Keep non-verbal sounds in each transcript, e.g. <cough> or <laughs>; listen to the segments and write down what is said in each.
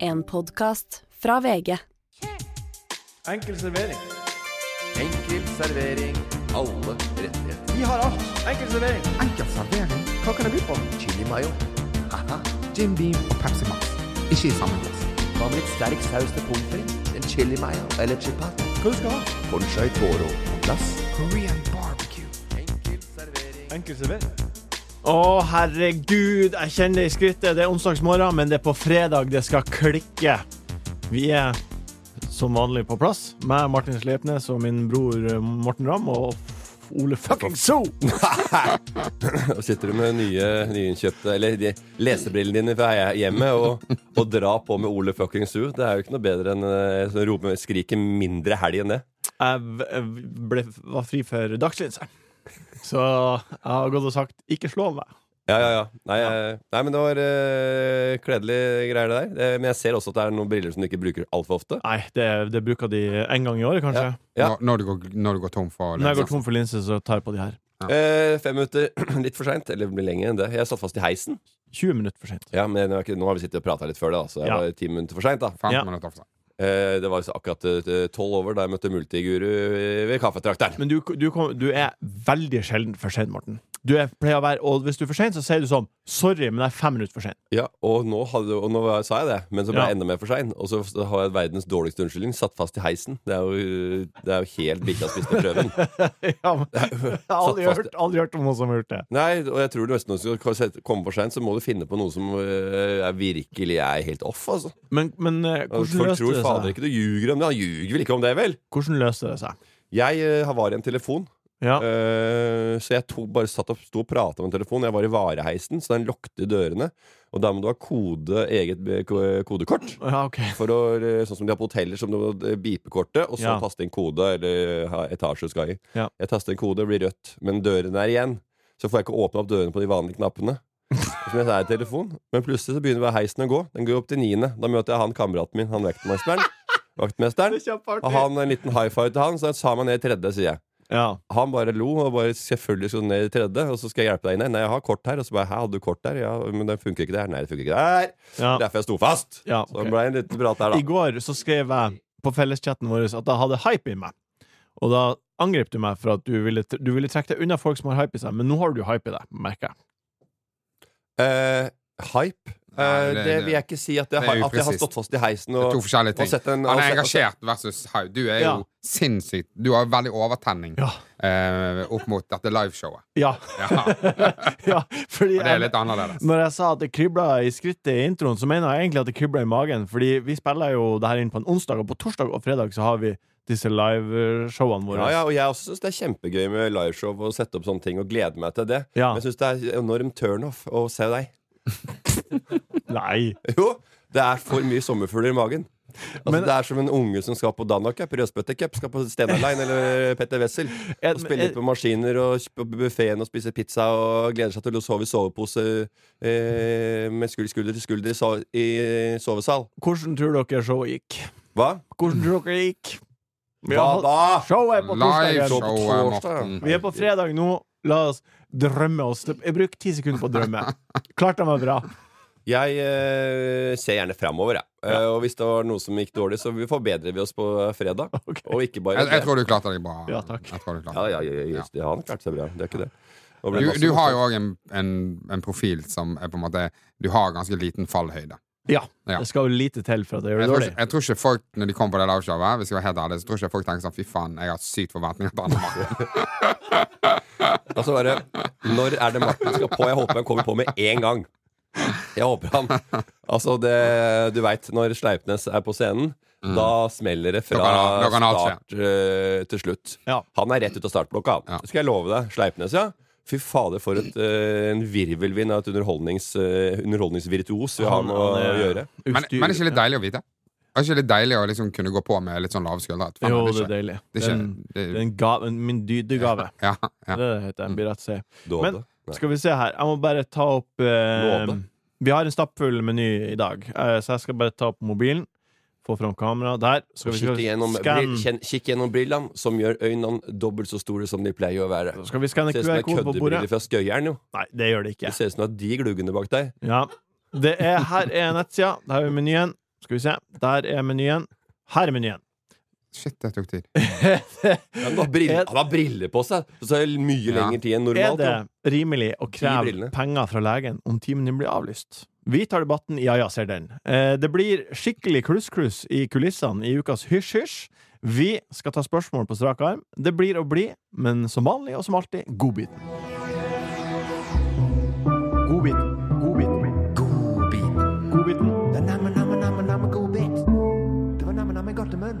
En podkast fra VG. Enkel servering. Enkel servering. Alle rettigheter. Vi har alt. Enkel servering. Enkel servering. Hva kan jeg by på? Chili mayo. Haha. Jim Beam og Pepsi Max. Ikke i samme glass. Hva med litt sterk saus til pommes frites? En chili mayo eller chipat? Hva du skal ha? Ponchai toro på glass. Korean barbecue. Enkel servering. Enkel servering. Å, herregud, jeg kjenner det i skrittet. Det er onsdagsmorgen, men det er på fredag det skal klikke. Vi er som vanlig på plass. Meg, Martin Slepnes, og min bror eh, Morten Ramm og Ole fucking So! Da sitter du med nye nyinnkjøpte Eller de, lesebrillene dine fra hjemmet og, og drar på med Ole fucking Sue. Det er jo ikke noe bedre enn eh, sånn rope, skrike 'mindre helg' enn det. Jeg v- jeg ble, var fri for dagslinseren. Så jeg har gått og sagt 'ikke slå meg'. Ja, ja, ja. Nei, eh, nei men det var eh, kledelige greier, det der. Eh, men jeg ser også at det er noen briller som du ikke bruker altfor ofte. Nei, det, det bruker de en gang i året, kanskje. Ja. Når, når, du går, når du går tom for liksom, Når jeg går tom for linser, så tar jeg på de her. Eh, fem minutter <clears throat> litt for seint. Eller det blir lenger enn det. Jeg satt fast i heisen. 20 minutter for sent. Ja, men nå, er ikke, nå har vi sittet og prata litt før det, da, så jeg Ja. var ti minutter for seint. Fem Ja. minutter for sent. Eh, det var altså akkurat eh, tolv over da jeg møtte Multiguru eh, ved kaffetrakteren. Men du, du, kom, du er veldig sjelden for sen, Morten. Du er, pleier å være, og hvis du er for sen, så sier du sånn 'Sorry, men jeg er fem minutter for sen'. Ja, og nå, hadde, og nå var- sa jeg det, men så ble Ja. jeg enda mer for sein. Og så har jeg verdens dårligste unnskyldning. Satt fast i heisen. Det er jo, det er jo helt bikkja spiste prøven. <laughs> <laughs> ja, men, jeg har aldri Satt fast. hørt, aldri hørt om noen som har gjort det. Nei, og jeg tror nesten når du skal sette- komme for seint, så må du finne på noe som øh, er virkelig er helt off, altså. Men, men eh, Og hvordan Folk løste tror det fader seg? ikke du ljuger om det. Han ljuger vel ikke om det, vel? Hvordan løste det seg? Jeg øh, var i en telefon, Ja. øh, så jeg tok, bare satt og sto og prata med en telefon. Jeg var i vareheisen, så den lukket dørene. Og da må du ha kode, eget eh, ko- kodekort. ja, ok. For å, eh, sånn som de har på hoteller, som du må eh, bipe kortet, og så Ja. taste inn kode, eller eh, ha etasje du skal i. Ja. Jeg taster inn kode, det blir rødt, men døren er igjen. Så får jeg ikke åpne opp dørene på de vanlige <laughs> knappene. Som jeg sa i telefon Men plutselig så begynner bare heisen å gå. Den går opp til niende. Da møter jeg han kameraten min, han <laughs> vaktmesteren. vaktmesteren. Og han en liten high five til han, så jeg sa meg ned i tredje, sier jeg. Ja. Han bare lo og bare selvfølgelig skal du ned i tredje, og så skal jeg hjelpe deg inn der. Nei, jeg har kort her. Og så bare Hæ, hadde du kort der? Ja, men det funker ikke der. Nei, det funker ikke der. ja. Derfor jeg sto fast. Ja, ok. Så det ble en liten prat der, da. I går så skrev jeg på felleschatten vår at jeg hadde hype i meg. Og da angrep du meg for at du ville, du ville trekke deg unna folk som har hype i seg, men nå har du hype i deg, merker jeg. Eh, hype? Eh, Nei, det, det- vil jeg ikke si at jeg, det er har, at jeg har upresist. stått fast i heisen Det er og, to forskjellige og ting. sett en Han og er sett- engasjert versus haug. Du er jo Ja. sinnssykt Du har veldig overtenning Ja. eh, opp mot dette <laughs> liveshowet. Ja, Ja. ja fordi Og det er litt annerledes. Når jeg sa at det kribla i skrittet i introen, så mener jeg egentlig at det kribla i magen. Fordi vi spiller jo det her inn på en onsdag, og på torsdag og fredag så har vi disse liveshowene våre. ja, ja, og jeg også syns det er kjempegøy med liveshow og sette opp sånne ting og gleder meg til det. Ja. Men jeg syns det er enorm turnoff å se deg. <laughs> Nei. Jo, det er for mye sommerfugler i magen. Altså, Men- det er som en unge som skal på Danacup, Rødspøtte Cup, skal på Stena Line eller Petter <laughs> Wessel. Er- Og spille litt på maskiner og kj- på buffeen og spise pizza og gleder seg til å sove i sovepose eh, med skulder, skulder til skulder i, so i sovesal. Hvordan tror dere showet gikk? Hva? Hvordan tror dere det gikk? Vi Hva har- da? Showet på torsdagen! Show. Liveshowet, På torsdag. Morten. Vi er på fredag nå. La oss drømme oss til Bruk ti sekunder på å <laughs> drømme. Klarte jeg meg bra? Jeg eh, ser gjerne framover, jeg. Eh, og hvis det var noe som gikk dårlig, så vi forbedrer vi oss på fredag. Ok. Og ikke bare Jeg, jeg tror du klarte deg bra. Ja, takk. Jeg tror du klarte Ja, deg. ja, ja, ja, just, det. han har klart seg bra. Det er ikke det. Og ble Du, masse du har morsomt. jo òg en, en, en profil som er på en måte Du har ganske liten fallhøyde. Ja. Ja. Det skal jo lite til for at jeg Jeg gjør det tror, dårlig. ikke, jeg tror ikke folk når de kommer på det liveshowet, Hvis jeg var helt ærlig, så tror ikke folk tenker sånn Fy faen, jeg har sykt forventninger til andre mann. Altså bare, Når er det Martin skal på? Jeg håper han kommer på med én gang. Jeg håper han Altså, det, du veit, når Sleipnes er på scenen, da smeller det fra Da kan- da kan alt skje. start eh, til slutt. Ja. Han er rett ut av startblokka. Ja. Skal jeg love deg. Sleipnes, ja. Fy fader, for et, eh, en virvelvind av et underholdnings, eh, underholdningsvirtuos vi har med å gjøre. Men, men er det ikke litt deilig å vite? Er det ikke litt deilig å liksom kunne gå på med litt sånn lave skuldre? At faen, Jo, det det er er ikke- deilig. det Det er er ikke- en, det- det er en gave, min dydegave. <laughs> Ja, ja. Mm. Det er det det heter. Jeg blir rett å si. Dåde. Men Nei. skal vi se her. Jeg må bare ta opp eh, Nåde. Vi har en stappfull meny i dag, eh, så jeg skal bare ta opp mobilen. Få fram kamera. Der. Skal vi, Kikk skal, gjennom, scan, brill- kjenn- kikk gjennom brillene, som gjør øynene dobbelt så store som de pleier å være. skal vi skanne Ser ut som det er QR-kode på bordet? køddebriller fra Skøyeren, jo. Nei, det gjør det ikke. Det ser ut som du har de gluggene bak deg. Ja. Det er, her er nettsida. Der har vi menyen. Skal vi se. Der er menyen. Her er menyen. Shit, det tok tid. Ja, men du har briller, Er- han har briller på seg! Så tar det mye Ja. lengre tid enn Er normalt. det jo. rimelig å kreve brillene. penger fra legen om timen din blir avlyst? Vi tar debatten i Ja ja, ser den. Eh, Det blir skikkelig kluss-kluss i kulissene i ukas Hysj-hysj. Vi skal ta spørsmål på strak arm. Det blir å bli, men som vanlig og som alltid, godbiten. Godbiten. Godbiten. Godbit. Godbiten. Det er namme, namme, namme, namme godbit. Det var namme, namme godtemunn.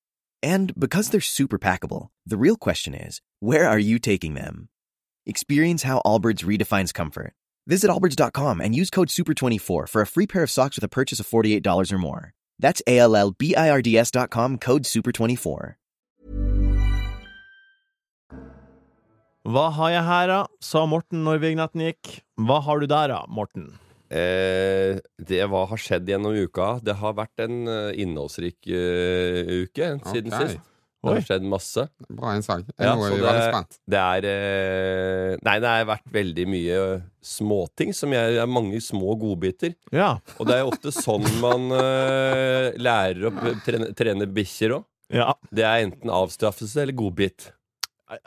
And because they're super packable, the real question is where are you taking them? Experience how Allbirds redefines comfort. Visit Allbirds.com and use code SUPER24 for a free pair of socks with a purchase of $48 or more. That's A L L B I R D S.com code SUPER24. Hva har jeg her, da? sa Morten når vignetten gikk. Hva har du der, da, Morten? Eh, det hva har skjedd gjennom uka. Det har vært en eh, innholdsrik eh, uke siden Ok. sist. Det Oi. har skjedd masse. Bra innsalg. Ja, Nå så er vi det- veldig spent. Det er eh, Nei, det har vært veldig mye eh, småting. Som jeg, det er mange små godbiter. Ja. Og det <laughs> er jo ofte sånn man eh, lærer å p- trene, trene bikkjer òg. ja. Det er enten avstraffelse eller godbit.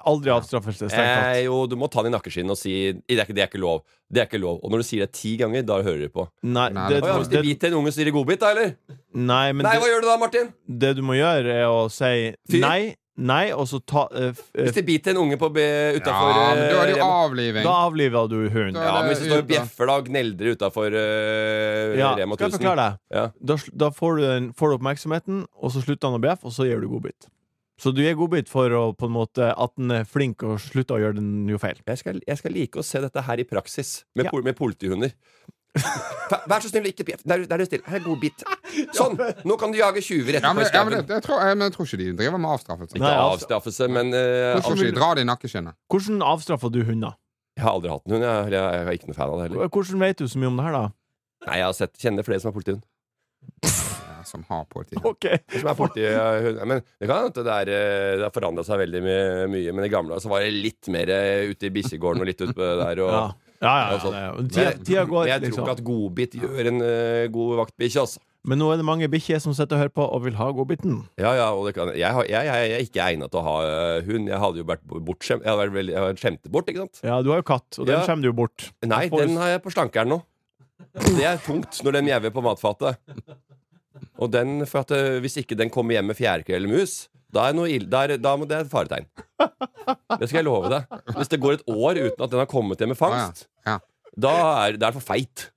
Aldri avstraffelse, strengt tatt. Eh, jo, du må ta den i nakkeskinnet og si det er, ikke, 'det er ikke lov'. Det er ikke lov Og når du sier det ti ganger, da hører du på. Nei, Nei, det, det Å ja, hvis de det, biter en unge, så gir de godbit, da, eller? nei, men Nei, det, hva gjør du da, Martin? det du må gjøre, er å si Fyr. nei, nei, og så ta eh, f- eh, Hvis de biter en unge på be- utafor Ja, men da er det eh, jo Rema. avliving. Da avliver du hunden. Da- Ja, men hvis du står og Ute. bjeffer da og gneldrer utafor uh, Ja, Rema skal jeg 1000 forklare deg? Ja. Da, sl- da får, du den, får du oppmerksomheten, og så slutter han å bjeffe, og så gir du godbit. Så du gir godbit for å, på en måte, at den er flink og slutter å gjøre den jo feil. Jeg skal, jeg skal like å se dette her i praksis, med, Ja. pol med politihunder. <laughs> Fa- Vær så snill, ikke bjeff. Der, der er du stille. Her er godbit. <laughs> Sånn! Nå kan du jage tjuver Ja, men, ja, etterpå i men skauen. jeg, jeg, tror, jeg, men jeg tror ikke de driver med avstraffelse. Ikke Nei, altså- avstraffelse, men eh, Kanskje avsky- de drar det i nakkeskinnet. Hvordan avstraffer du hunder? Jeg har aldri hatt en hund. Jeg, jeg, jeg er ikke noe fan av det heller. Hvordan vet du så mye om det her, <laughs> da? Nei, jeg har sett, kjenner flere som er politihund. Ja, som har politi. Ok, Som er politi, hun, men det kan hende at det, er, eh, det har forandra seg veldig mye, mye. Men i gamle dager så var jeg litt mer eh, ute i bikkjegården og litt ute på der. Og, Ja, ja, ja, og ja, sånn. det er jo- tida, tida går, Men jeg tror liksom. ikke at godbit gjør en eh, god vaktbikkje, altså. Men nå er det mange bikkjer som sitter og hører på og vil ha godbiten. Ja, ja, og det kan, jeg, har- jeg, jeg, jeg er ikke egnet til å ha eh, hund. Jeg hadde jo vært bortskjemt. Jeg hadde vært veldig, jeg hadde skjemt det bort, ikke sant? Ja, du har jo katt, og den Ja. kommer du jo bort. Nei, Da får du- den har jeg på slankeren nå. Det er tungt når den mjauer på matfatet. Og den, for at eh, Hvis ikke den kommer hjem med fjærkre eller mus, da er, noe ill, da er, da må det er et faretegn. Det skal jeg love deg. Hvis det går et år uten at den har kommet hjem med Ja, ja. fangst, Ja. da er det er for feit.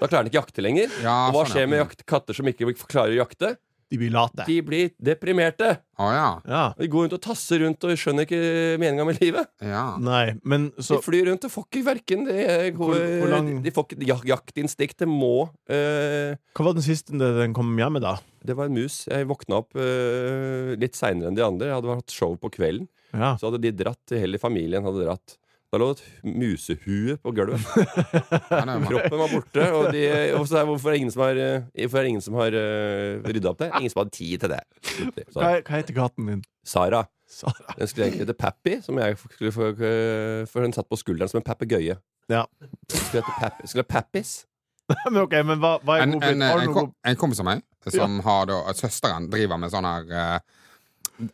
Da klarer den ikke jakte lenger. Ja, og hva sånn, ja. skjer med jakt, katter som ikke klarer å jakte? De blir late. De blir deprimerte. Å ja. Ja. De går rundt og tasser rundt og skjønner ikke meninga med livet. ja. Nei, men så De flyr rundt og får ikke hverken det eh, Hvor- hvor lang- de får ikke, ja, Jaktinstinktet må eh, Hva var den siste den kom hjem med, da? Det var en mus. Jeg våkna opp eh, litt seinere enn de andre. Jeg hadde hatt show på kvelden. Ja. Så hadde de dratt, hele familien hadde dratt. Da lå det et musehue på gulvet. <laughs> ja det er jo bra. Kroppen var borte. Og, de, og så er, hvorfor er det ingen som har, eh, hvorfor er det ingen som har eh, rydda opp det? Ingen som hadde tid til det. Så, Hva, hva heter <laughs> katten din? Sara. Sara. Den skulle egentlig hete Pappy, som jeg skulle få, eh, for hun satt på skulderen som en papegøye. Ja. Skulle hete Papp- skulle hete Pappis. Men ok, men hva, hva er En, godbit? en, Har en, du noe kom- en kompis av meg, som har da at Søsteren driver med sånn her eh,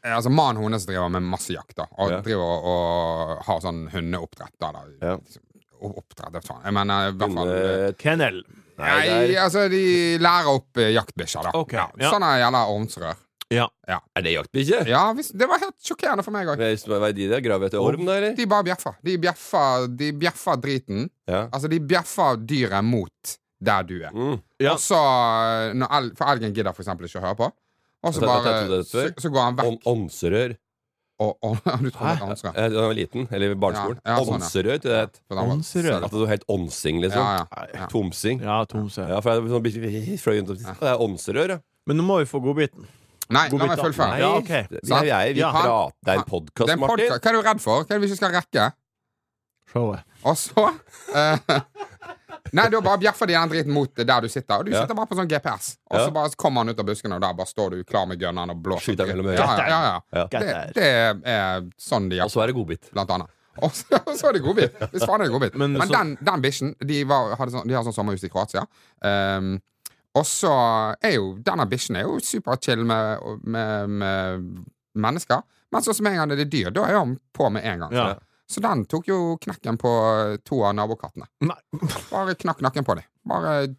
Altså Mannen hennes driver med masse jakt, da. Og Ja. driver og, og har sånn hundeoppdrett. Da, da. Ja. Oppdrett, vet faen. Jeg mener i hvert fall eh, Hunde- god- Kennel. Nei, det Nei, er, altså, de lærer opp eh, jaktbikkjer, da. Ok, ja. ja. Sånn er jævla ormsrør. Ja. er det jaktbikkje? Ja, visst, det var helt sjokkerende for meg òg. Men jeg visste- Hva er de der? Gravvetteorm, da, eller? De bare bjeffa. De bjeffa, de bjeffa driten. Ja. Altså, de bjeffa dyret mot der du er. Mm. Ja. Og så, når el, for elgen gidder for eksempel ikke å høre på, og så Jeg har bare tatt det så, før. så går han vekk. Ån- Ånserør. Og, og, du tror det er ormsrør? Eh, Da jeg var liten, eller i barneskolen. Ja, ja, sånn, ja. Ånserør, tror jeg det het. For den var Ånserør. sølv. At det var helt ånsing, liksom. Ja, ja. Nei. Ja. Tomsing. Ja, Tomse. Ja, for jeg hadde sånn bitte- fløy rundt og Det er ånserør, ja. Men nå må vi få godbiten. Nei, God la bit, meg da. fullføre. Ja, ok. Vi, er, vi, er, vi Ja. prater. Det Det er en er podkast, en Martin. podcast. Hva er du redd for? Hva er det vi ikke skal rekke? Showet. Og så eh, Nei, da bare bjeffer de den driten mot der du sitter. Og du Ja. sitter bare på sånn GPS, og så Ja. bare kommer han ut av buskene, og der bare står du klar med gunneren og blåser. Skyter mellom ja, øya. ja, ja, ja. Ja. Det, det er sånn de Og gjør, så er det godbit. blant annet. Og så, <laughs> og så er det godbit. Hvis faen er det godbit. Men Men, så- den, den bikkjen de, var, hadde sånn, de har sånn sommerhus i Kroatia. Um, og så er jo denne bikkjen er jo superchill med, med, med mennesker. Men sånn som en gang det er dyr, da er han på med en gang. Ja. Så den tok jo knekken på to av nabokattene. Nei. Bare knakk nakken på dem. Bare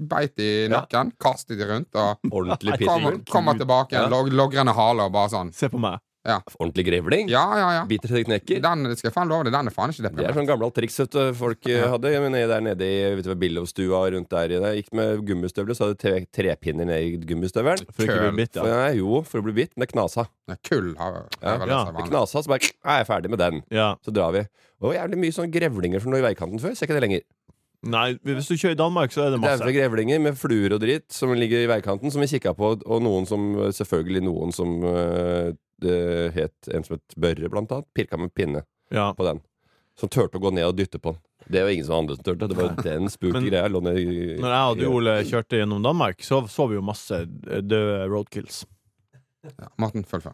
beit i nakken, kastet de rundt, og Ordentlig kommer pitbull. kom tilbake Ja. igjen, log, logrende hale og bare sånn. Se på meg. Ordentlig grevling. Ja, ja, ja. Biter til det knekker. Den skal jeg faen love deg, den er faen ikke Det er deprimert. sånn gammelt triks vet du, folk eh, hadde. Jeg mener, der nede i vet du, hva, Billovstua og rundt der. Jeg gikk med gummistøvler, så hadde jeg tre, trepinner ned i gummistøvelen. For ikke å bli bitt, For, ja. nei, jo, for å bli bitt. Men det knasa. Kull har Ja, er vel det ja. som er Det vanlig. knasa, så bare «Nei, Jeg er ferdig med den. ja. Så drar vi. Det var jævlig mye sånn grevlinger som lå i veikanten før. Ser ikke det lenger. Nei, hvis du kjører i Danmark, så er det masse. Daue grevlinger med fluer og dritt som ligger i veikanten, som vi kikka på, og noen som Selvfølgelig noen som øh, det het en som het Børre, blant annet. Pirka med pinne Ja. på den. Som turte å gå ned og dytte på den. Det var ingen som andre som turte. Det var den spooky Men- greia. Lå ned i Når jeg og du, Ole, kjørte gjennom Danmark, så så vi jo masse eh, døde roadkills. Ja, Morten, fullfør.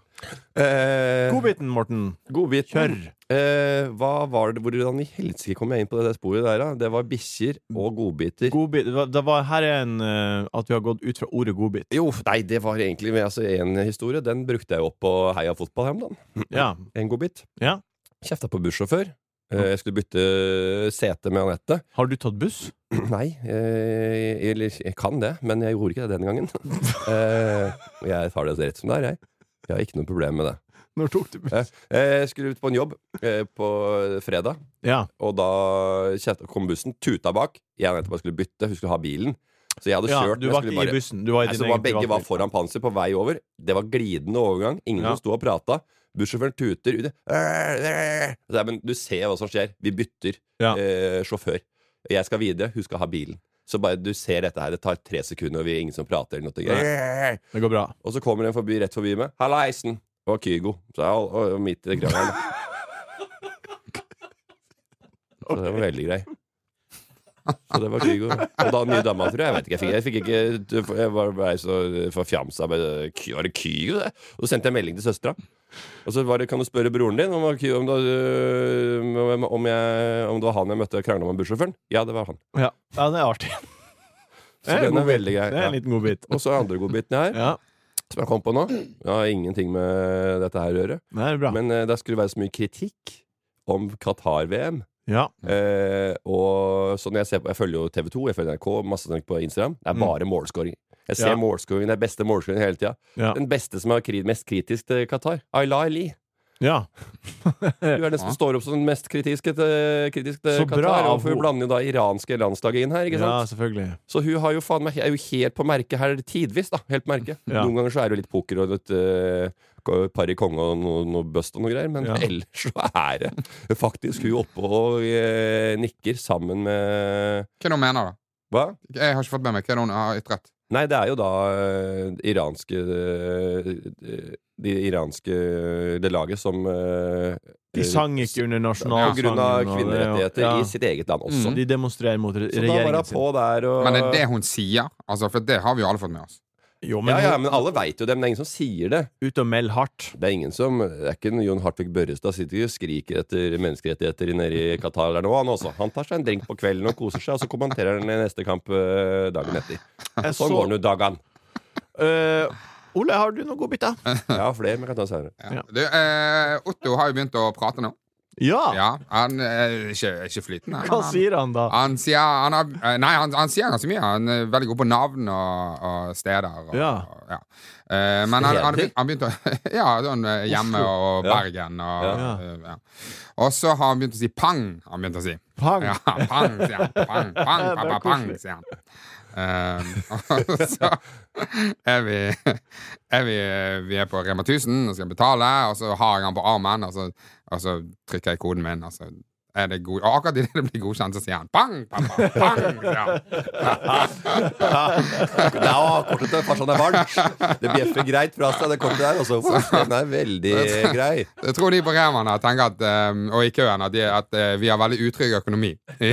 eh, Godbiten, Morten. Godbit. Kjør. Eh, hva var det, hvordan i helsike kom jeg inn på det der sporet der, da? Det var bikkjer og godbiter. Godbit, det var- det var, her er en eh, At vi har gått ut fra ordet godbit. jo, nei, det var egentlig med altså, en historie. Den brukte jeg opp på Heia fotball her om dagen. Ja. en godbit. Ja. Kjefta på bussjåfør. Eh, Jeg skulle bytte sete med Anette. <clears throat> Har du tatt buss? Nei, eh, eller jeg kan det, men jeg gjorde ikke det den <laughs> gangen. Eh, Jeg tar det rett som det er, jeg. Jeg har ikke noe problem med det. Når tok du Eh, eh, Jeg skulle ut på en jobb eh, på fredag, Ja. og da kjefta- kom bussen, tuta bak. Jeg og Anette bare skulle bytte, hun skulle ha bilen. Så jeg hadde ja kjørt. du jeg var skulle ikke bare- i bussen. Du var i Nei, din så var egen begge var privatbil. foran panser på vei over. Det var glidende overgang. Ingen Ja. som sto og prata. Bussjåføren tuter ute. Så jeg, men du ser hva som skjer. Vi bytter Ja. eh, sjåfør. Jeg skal videre, hun skal ha bilen. Så bare du ser dette her. Det tar tre sekunder, og vi er ingen som prater. eller noe greier. Det går bra. Og så kommer en forbi, rett forbi meg. 'Hallaisen!' Det var Kygo. Så jeg, og, og midt i det greiene her. Så det var veldig grei. Så det var Kygo. Og da nye dama, tror jeg. Jeg vet ikke, jeg fikk, jeg fikk ikke Jeg var ble så forfjamsa. med, «Ky- Var det Kygo, det? Og så sendte jeg melding til søstera. Og så var det, kan du spørre broren din om, Kygo- om, det- om, om, jeg, om det var han jeg møtte og krangla med bussjåføren? Ja, det var han. Ja, ja det er artig. <laughs> Så Det er den er godbit. veldig grei. Det er en Ja. liten godbit. Og så er andre godbiten her, Ja. som jeg kom på nå. Jeg har ingenting med dette her å gjøre. Det er bra. Men eh, det skulle være så mye kritikk om Qatar-VM. Ja. Eh, og så når jeg, ser på, jeg følger jo TV 2, jeg følger NRK, masse sånn på Instagram. Det er bare målskåring. Jeg ser Mm. Ja. målskåring, det er beste målskåring hele tida. Ja. Den beste som er kri mest kritisk til Qatar, Ayla Eli. ja. Hun er den som står opp som den mest kritiske til, kritisk til Så bra Qatar. av Og for hun. hun blander jo da iranske landslaget inn her, ikke ja, sant? selvfølgelig. Så hun har jo faen meg, er jo helt på merket her tidvis, da. Helt på merket. Mm. Ja. Noen ganger så er det jo litt poker og litt uh, par i konge og noe, noe bust og noe greier, men Ja. ellers så er det faktisk hun oppe og eh, nikker sammen Hva med er det hun mener, da? Hva? Jeg har ikke fått med meg hva er det hun har ytret. Nei, det er jo da eh, iranske eh, De iranske det laget som eh, De sang ikke under På grunn nasjonalsangen. og av det, og- kvinnerettigheter ja. Mm. i sitt eget land også. De demonstrerer mot re- Så da var regjeringen hun på sin. der og Men det er det hun sier, altså, for det har vi jo alle fått med oss. Jo, men Ja, ja, hun- men alle veit jo det, men det er ingen som sier det. ut og meld hardt. Det er ingen som, det er ikke en Jon Hartvig Børrestad sitter ikke og skriker etter menneskerettigheter nede i Qatar der nå, han også. Han tar seg en drink på kvelden og koser seg, og så kommenterer han i neste kamp øh, dagen etter. Jeg <laughs> Sånn går så, det jo dagen. Eh, Ole, har du noen godbiter? Jeg har flere, men jeg kan ta senere. Ja. Du, eh, Otto har jo begynt å prate nå. Ah. Ja! Ja, han er ikke, ikke flytende. Hva men han- sier han da? Han sier, han har, eh, nei, han, han sier ganske mye. Han er veldig god på navn og, og steder. Og, Ja. Og, ja. Eh, men han, han, Steder? begynte, han begynte å <laughs> Ja, sånn eh, hjemme og Ja. Bergen og Ja. eh, ja. Og så har han begynt å si pang. har Han begynt å si. Pang. Ja, pang, sier han. <laughs> Pang, pang, Det er pappa, pang, koselig. sier han. Eh, <laughs> og så er vi, er vi Vi er på Rema 1000 og skal betale, og så har jeg han på armen, og så, og så trykker jeg koden min, og så er det god, og akkurat idet det blir godkjent, så sier han pang, pappa, pang! <laughs> sier han. Ja, kortet til farsan er varmt. Det bjeffer greit fra seg, det kortet der. Og så den er veldig grei. Jeg tror de på Rema da tenker at, eh, og i køen at, de, at eh, vi har veldig utrygg økonomi i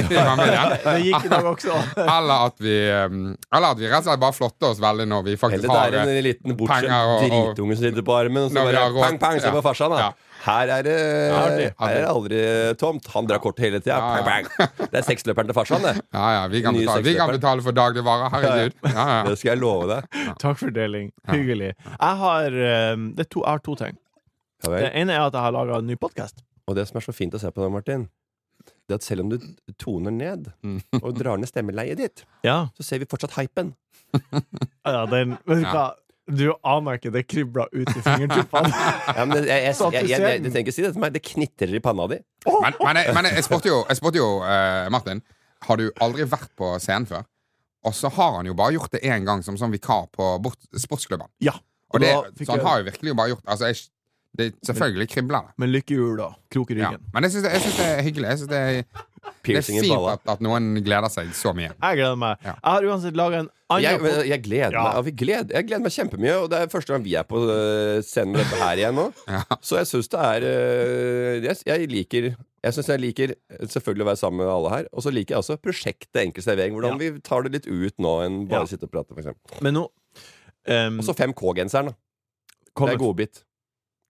<laughs> familien. Det gikk i dag også. Eller at vi eh, Eller at vi rett og slett bare flotter oss veldig når vi faktisk Eller det er har eh, en liten bortskjemt penger og- og- dritunge som sitter på armen, og så Når vi bare har råd. pang, pang, se på Ja. farsan, da. Ja. Her er, det, Artig. her er det aldri tomt. Han drar kort hele tida. Ja, ja. Pang, pang. Det er seksløperen til farsan, det. Ja, ja, vi kan, Nye betale, vi kan sexløper. betale for dagligvarer, herregud. Ja, ja. Det skal jeg love deg. <laughs> Takk for deling. Hyggelig. Jeg har, eh, det er to, jeg har to ting. Ja, vel. Det ene er at jeg har laga en ny podkast. Og det som er så fint å se på deg, Martin, det er at selv om du toner ned <laughs> og drar ned stemmeleiet ditt, Ja. så ser vi fortsatt hypen. ja, den Vet du Ja. hva? Du aner ikke, det kribler ut i <laughs> fingertuppene. Ja, men det, jeg, jeg, Så jeg, jeg, jeg, entusiasmen. Sånn du trenger ikke si det til meg. Det knitrer i panna di. Men, men, jeg, men jeg spurte jo, jeg spurte jo eh, Martin, har du aldri vært på scenen før? Og så har han jo bare gjort det én gang som sånn vikar på bort, sportsklubben. Ja. Og det, da fikk så han jeg- har jo virkelig bare gjort altså jeg, det, Selvfølgelig kribler det. Men lykkehjul, da. Krok i Ja. ryggen. Men jeg syns det, jeg synes det er hyggelig. Jeg synes det, er, det er Piercing i fint balla. at, at noen gleder seg så mye. Jeg gleder meg. Ja. Jeg har uansett laga en Jeg, annen men pod- jeg gleder Ja. meg ja, vi gleder, Jeg gleder meg kjempemye, og det er første gang vi er på øh, scenen med dette her igjen <laughs> nå. Ja. Så jeg syns det er øh, jeg, jeg liker Jeg synes jeg liker selvfølgelig å være sammen med alle her, og så liker jeg også prosjektet Enkel servering. Hvordan Ja. vi tar det litt ut nå enn Ja. bare sitte og prate, for eksempel. Men nå um, Og så 5K-genseren, da. Det er godbit.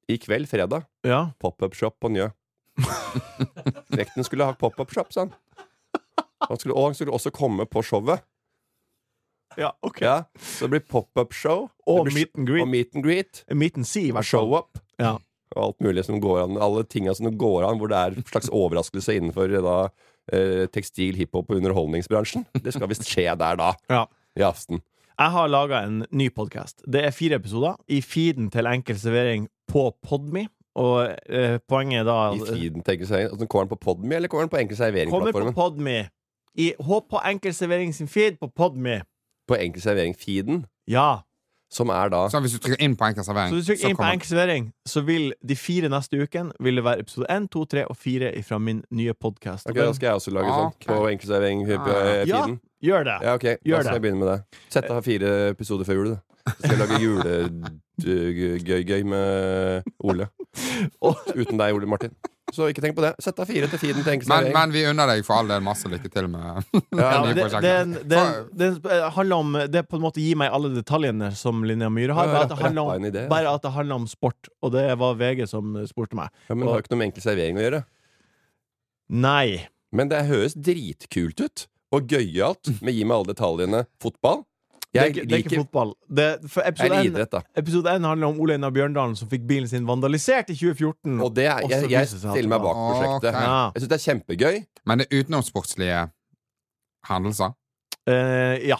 I kveld, fredag, Ja. pop-up-shop på <laughs> Njø. Rekten skulle ha pop-up-shop, sa han. Han skulle, og han skulle også komme på showet. ja, OK. Ja, så det blir pop-up-show. Og Det blir- meet and greet. Og meet and greet. Meet and see, i hvert Og fall. show-up. Ja. Og alt mulig som går an. Alle tinga som går an, hvor det er en slags overraskelse innenfor eh, da, eh, tekstil, hiphop og underholdningsbransjen. Det skal visst skje der, da. Ja. I aften. Jeg har laga en ny podkast. Det er fire episoder i feeden til Enkel servering på Podme. Og eh, poenget er da I feeden, tenker jeg. Altså, kommer den på Podme, eller kommer den på Enkel Kommer på servering-plattformen? På, Podme. I, hå- på Enkel servering sin feed på Podme. Enkel servering-feeden, Ja. som er da Så hvis du trykker inn på Enkel servering, Så hvis du trykker inn på kommer- Enkel servering, så vil de fire neste ukene Vil det være episode 1, 2, 3 og 4 fra min nye podkast. Ok, Da skal jeg også lage Ah, sånn ok. på Enkel Ah, ja, servering-feeden. gjør det. Ja, ok. Da Gjør skal det. jeg begynne med det. Sett deg fire episoder før jul, du. Så skal jeg lage <laughs> eh, julegøy-gøy med Ole. Uten deg, Ole Martin. Så ikke tenk på det. Sett deg fire til feeden til Enkel men, servering. men vi unner deg for all del masse lykke til med Ja, nye det, prosjekter. det, det, det, eh, handler om Det på en måte gir meg alle detaljene som Linnea Myhre har. Ja, Bare at, det rappa- handler rappa en om, idé, ja. bare at det handler om sport. Og det var VG som spurte meg. Ja, men det har jo ikke noe med enkel servering å gjøre. Nei. Men det høres dritkult ut. Og gøyalt med gi meg alle detaljene. Fotball. Det er, Jeg ikke, det er ikke liker fotball. Det, for episode Eller 1, idrett, da. episode 1 handler om Ole Einar Bjørndalen som fikk bilen sin vandalisert i 2014. Og det er, Og så jeg, viser jeg det seg at stiller meg det bak var- prosjektet. Ok. ja. Jeg syns det er kjempegøy. Men det er utenomsportslige hendelser. Eh, ja.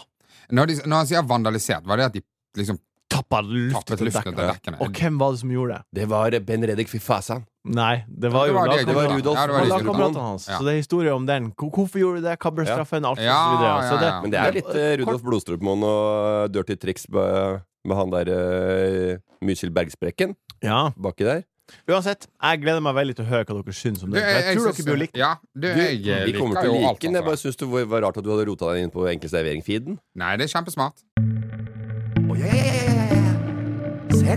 Når, de, når han sier vandalisert, var det at de liksom Tappa luften tappet til luften dekket. til dekkene? Og hvem var det som gjorde det? Det var Ben Reddik Fifasan. Nei, det var Det jo var det, lagkamerat- Det var Ja, Rudolf. ja, det det var var Rudolf. lagkameratene hans. Ja. Så det er historie om den. Hvor- Hvorfor gjorde du det? Hva ble Ja. straffen? Alt Ja, og så videre. Så ja, det, ja. Men det er litt eh, Rudolf Blodstrupemoen og eh, Dirty Tricks med, med han der uh, Mysil Bergsprekken ja. baki der. Uansett, jeg gleder meg veldig til å høre hva dere syns om Du, det. for jeg tror syns- dere blir likt. Ja, du, Du, jeg eh, vi kommer liker til å jo like alt. den. Jeg Altså. bare syns det var var rart at du hadde rota deg inn på Enkel servering-feeden. Nei, det er kjempesmart. Jeg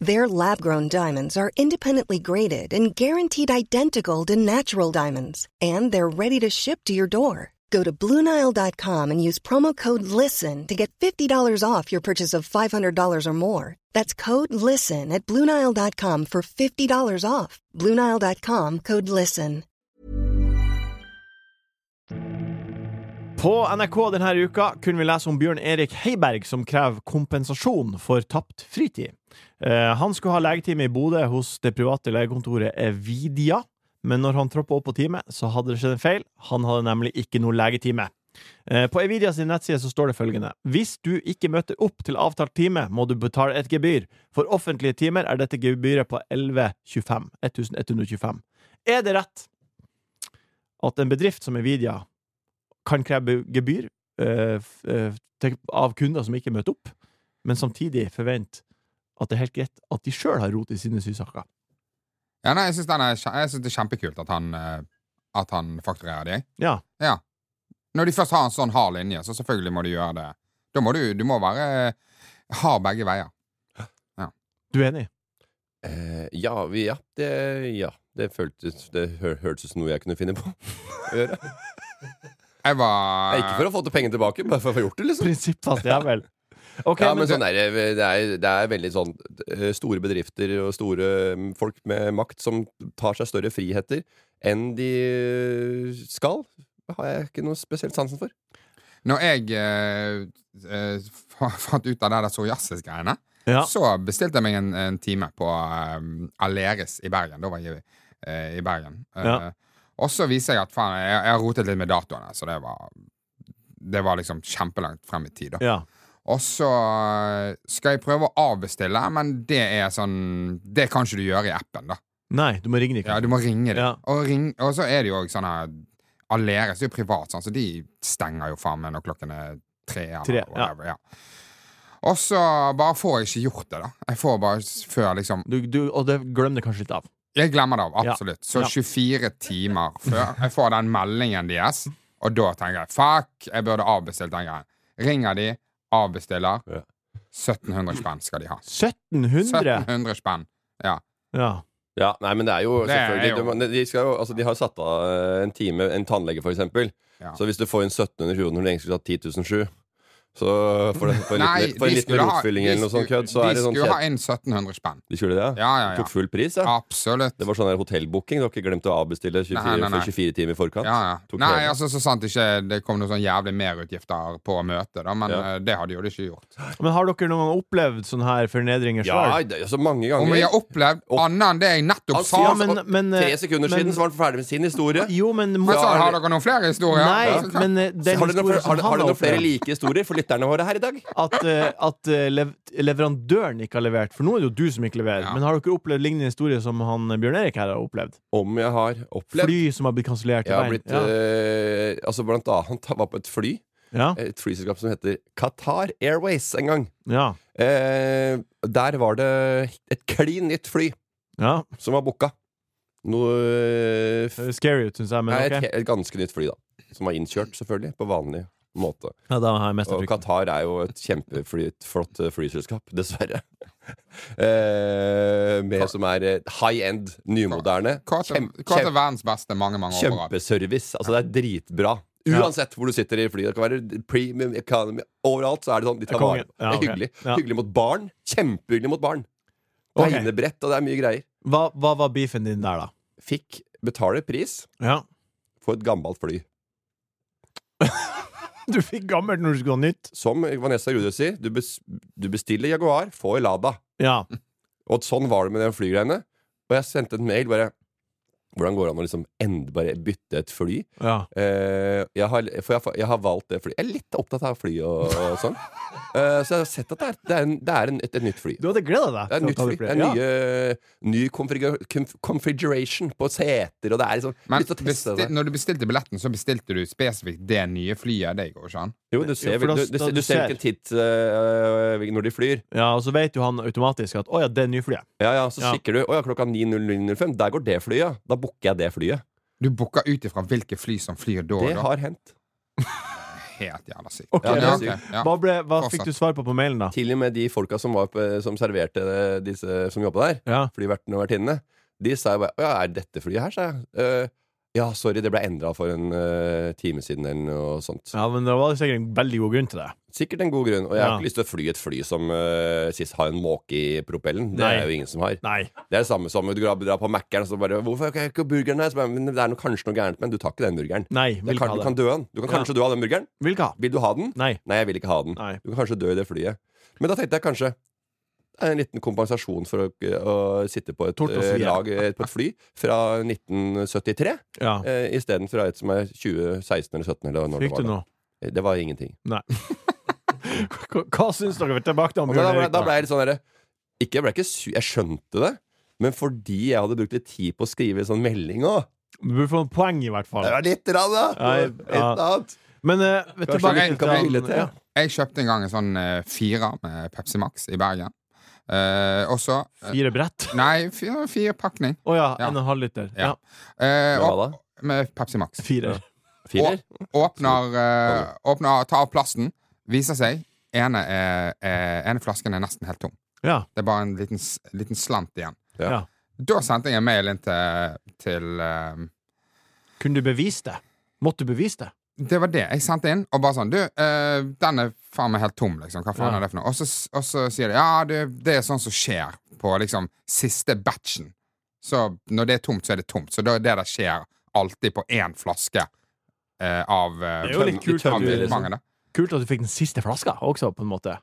Their lab grown diamonds are independently graded and guaranteed identical to natural diamonds, and they're ready to ship to your door. Go to BlueNile.com and use promo code LISTEN to get $50 off your purchase of $500 or more. That's code LISTEN at BlueNile.com for $50 off. BlueNile.com code LISTEN. På NRK denne uka kunne vi lese om Bjørn Erik Heiberg som krever kompensasjon for tapt fritid. Eh, han skulle ha legetime i Bodø hos det private legekontoret Evidia, men når han troppa opp på time, så hadde det skjedd en feil. Han hadde nemlig ikke noe legetime. Eh, På Evidia sin nettside så står det følgende Hvis du ikke møter opp til avtalt time, må du betale et gebyr. For offentlige timer er dette gebyret på 1125. 1125. Er det rett at en bedrift som Evidia kan kreve gebyr eh, f- eh, til- av kunder som ikke møter opp, men samtidig forvente at det er helt greit at de sjøl har rot i sine sysaker. Ja, nei, jeg syns det er kjempekult at han, eh, at han fakturerer de. Ja. Ja. Når de først har en sånn hard linje, så selvfølgelig må du gjøre det. Da må du, du må være eh, hard begge veier. Du er enig? Eh, ja, vi, ja, det, ja. Det, føltes, det hø hørtes ut som noe jeg kunne finne på <laughs> å gjøre. Jeg var Nei, ikke for å få til pengene tilbake, bare for å få gjort det, liksom. Prinsippfast jævel. Ok, Ja, men men sånn er det, det, er, det er veldig sånn eh, Store bedrifter og store mm, folk med makt som tar seg større friheter enn de eh, skal, har jeg ikke noe spesielt sansen for. Når jeg eh, eh, fa- fant ut av det der psoriasis-greiene, Ja. så bestilte jeg meg en, en time på eh, Aleris i Bergen. Da var jeg eh, i Bergen. Eh, Ja. Og så viser jeg at faen, jeg, jeg har rotet litt med datoene, så det var, det var liksom kjempelangt frem i tid. da ja. Og så eh, skal jeg prøve å avbestille, men det er sånn Det kan ikke du gjøre i appen, da. Nei, du må ringe dem. Ja, Du må ringe dem. Ja. Og, ring, og så er det jo også sånn her Aleris er jo privat, sånn, så de stenger jo faen meg når klokken er tre. Eller Tre, ja. whatever, ja. Og så bare får jeg ikke gjort det, da. Jeg får bare s- før liksom Du, du, og det glem det kanskje litt av. Jeg glemmer det av, Ja. absolutt. Så Ja. 24 timer før jeg får den meldingen deres, og da tenker jeg fuck, jeg burde avbestilt den greien. Ringer de, avbestiller. Ja. 1700 spenn skal de ha. 1700! 1700 spenn. Ja. Ja. Ja, nei, men det er jo Det er selvfølgelig jo- De, de, skal jo, altså, de har jo satt av eh, en time, en tannlege, for eksempel. Ja. Så hvis du får inn 1700 kroner når du egentlig skulle hatt 10.007 så for, den- for en Nei, liten, for en de liten skulle ha- rotfylling de eller noe sånt skulle- kødd, så er De det sånn skulle ha kjed... inn 1700 spenn. De skulle det? Ja, ja, ja. Tok full pris, ja? Absolutt. Det var sånn der hotellbooking. Du har ikke glemt å avbestille 24, Nei, nei, nei. for 24 timer i forkant? Ja, ja. Tok Nei, hele. altså så sant ikke det kom noen sånn jævlig merutgifter på møtet, da, men Ja. eh, det hadde jo det ikke gjort. Men har dere noen gang opplevd sånne her fornedringer ja sjøl? det, altså, mange ganger. Om vi har opplevd Opp- annet enn det jeg nettopp Han sa, sier Ja, altså, men- og men, eh, tre sekunder men- siden så var han ferdig med sin historie. Jo, men men så har har dere noen flere historier. Nei, Ja. men eh, den har du noen, historien har, som han du- har du har noen flere opplevd, like historier for lytterne våre her i dag? at, eh, at eh, lev leverandøren ikke har levert For nå er det jo du som ikke leverer. Ja. Men har dere opplevd lignende historier som han eh, Bjørn Erik her har opplevd? Om jeg har opplevd Fly som har blitt kansellert? Jeg i har veien. blitt eh, Altså, blant annet Han var på et fly. ja. Ja. Et flyselskap som heter Qatar Airways en gang. Ja. Eh, der var det et klin nytt fly ja. som var booka. Noe eh, f- Det er Scary ut, syns jeg, men Nei, et, ok. he- et ganske nytt fly, da. Som var innkjørt, selvfølgelig, på vanlig måte. Ja, da har jeg mest Og frykt. Qatar er jo et kjempeflott flyselskap, <laughs> dessverre. Eh, med som er eh, high end, nymoderne. Kåt er Kjem- Kåt er kjem- verdens beste mange, mange år på rad. Kjempeservice. Altså, det er dritbra. Uansett hvor du sitter i flyet. Det kan være premium economy. Overalt så er det sånn. De tar vare Konge. på Det Ja, er ok. hyggelig. Ja. Hyggelig mot barn. Kjempehyggelig mot barn. Ok. Beinebrett, og det er mye greier. Hva, hva var beefen din der, da? Fikk betale pris Ja. for et gammelt fly. <laughs> Du fikk gammelt når du skulle ha nytt. Som Vanessa Rudø sier, du, bes du bestiller Jaguar, får Lada. Ja. Og sånn var det med den flygreiene. Og jeg sendte en mail bare Hvordan går det an å liksom ende, bare bytte et fly? Ja. Eh, jeg, har, for jeg, har- jeg har valgt det flyet. Jeg er litt opptatt av fly og, og sånn. Eh, så jeg har sett at det er, det er, en, det er en, et, et nytt fly. Du hadde gleda deg. Det er til å nytt ta fly. Det er Ja. nye, ny konfigura- konf- configuration på seter, og det er liksom Men lyst til å teste besti- det. når du bestilte billetten, så bestilte du spesifikt det nye flyet. Det går ikke an. Jo, du ser, for da- vel- du, du, da- ser- du du ser ser. hvilken titt eh, når de flyr. ja, og så vet jo han automatisk at å ja, det er nyflyet. Ja, ja, Så Ja. kikker du. Å ja, klokka 9.0005. Der går det flyet. Da booker jeg det flyet. Du booker ut ifra hvilke fly som flyr da. og Det da. har hendt. Helt jævla sykt. Ok, Ja, altså. det er ja, sykt. ok, ja. Hva, ble, hva Fortsatt. fikk du svar på på mailen, da? Til og med de folka som, var på, som serverte eh, disse som jobba der, Ja. flyvertene og vertinnene, de sa jo bare Å ja, er dette flyet her, sa jeg. «Eh, ja, sorry, det ble endra for en eh, time siden eller noe sånt. ja, men det var sikkert en veldig god grunn til det. Sikkert en god grunn. Og jeg har Ja. ikke lyst til å fly et fly som eh, sist har en måke i propellen. Det Nei. er jo ingen som har. Nei. Det er det samme som du drar drar på Mækkern og så bare 'Hvorfor har jeg ikke burgeren her?' Så bare, men det er noe, kanskje noe gærent, men du tar ikke den burgeren. Nei. Det Vil kan, ikke du ha kan det. dø av den. Du kan Ja. kanskje dø av den burgeren. Vil ikke ha. Vil du ha den? Nei. Nei, jeg vil ikke ha den. Nei. Du kan kanskje dø i det flyet. Men da tenkte jeg kanskje det er en liten kompensasjon for å, å sitte på et, Tort og eh, svie. lag, eh, på et fly fra 1973 Ja. eh, istedenfor et som er 2016 eller 17 eller når Fikk det var. du da. noe? Eh, Det var ingenting. Nei. Hva- Hva syns dere tilbake til Og om da, Bjørn da, ble, Erik? da ble jeg litt sånn derre ikke, jeg, ble ikke su jeg skjønte det, men fordi jeg hadde brukt litt tid på å skrive sånn melding òg. Du burde få en poeng, i hvert fall. Det var litt, rann, da! Ja, Det var et ja. eller annet. Men eh, vet du, Kanskje tilbake jeg til kan bli hyllet til, han- ja. Jeg kjøpte en gang en sånn eh, firer med Pepsi Max i Bergen. Eh, og så ja, Fire brett? Nei, fire, fire pakning. Å ja, Ja. en og en halv liter. Ja. Ja. Eh, Hva og, da? med Pepsi Max. Fire. Firer? Åpner, eh, åpner Tar av plasten. Viser seg ene, er- er- ene flasken er nesten helt tom. Ja. Det er bare en liten, s- liten slant igjen. Ja. Ja. Da sendte jeg en mail inn til, til eh, Kunne du bevise det? Måtte du bevise det? Det var det. Jeg sendte inn, og bare sånn Du, eh, den er faen meg helt tom, liksom. Hva faen Ja. er det for noe? Og så, og så sier de ja, det, det er sånn som skjer på liksom siste batchen. Så når det er tomt, så er det tomt. Så da er det det skjer alltid på én flaske eh, av eh, Det er jo litt kult av at du- mange, da. Kult at du fikk den siste flaska også, på en måte.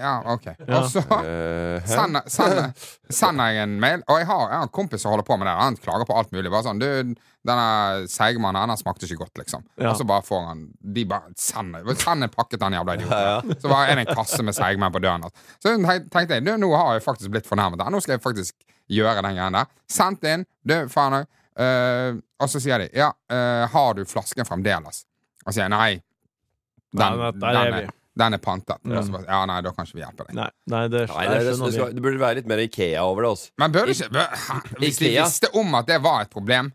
Ja, ok. Ja. Og så Eh, hæ? sender, sender, sender jeg en mail, og jeg har, jeg har en kompis som holder på med det. Han klager på alt mulig. Bare sånn, du, denne Seigmannen han smakte ikke godt, liksom. Ja. Og så bare får han De bare sender bare Send en pakke til han jævla idioten. Så bare er det en kasse med Seigmann på døren. Altså. Så tenk- tenkte jeg, du, nå har jeg faktisk blitt fornærmet. her. Nå skal jeg faktisk gjøre den greien der. Sendt inn. Du, faen òg. og så sier de, ja, eh, har du flasken fremdeles? Og sier jeg nei. Den, Nei, den, der er er, vi. den er pantet. Og så bare, ja, nei, da kan ikke vi hjelpe deg. Nei, nei det, Nei, det, det, jeg det, skjønner skal, det burde være litt mer Ikea over det. altså. Også. Men bør det ikke bør, hæ? Hvis de Ikea. visste om at det var et problem,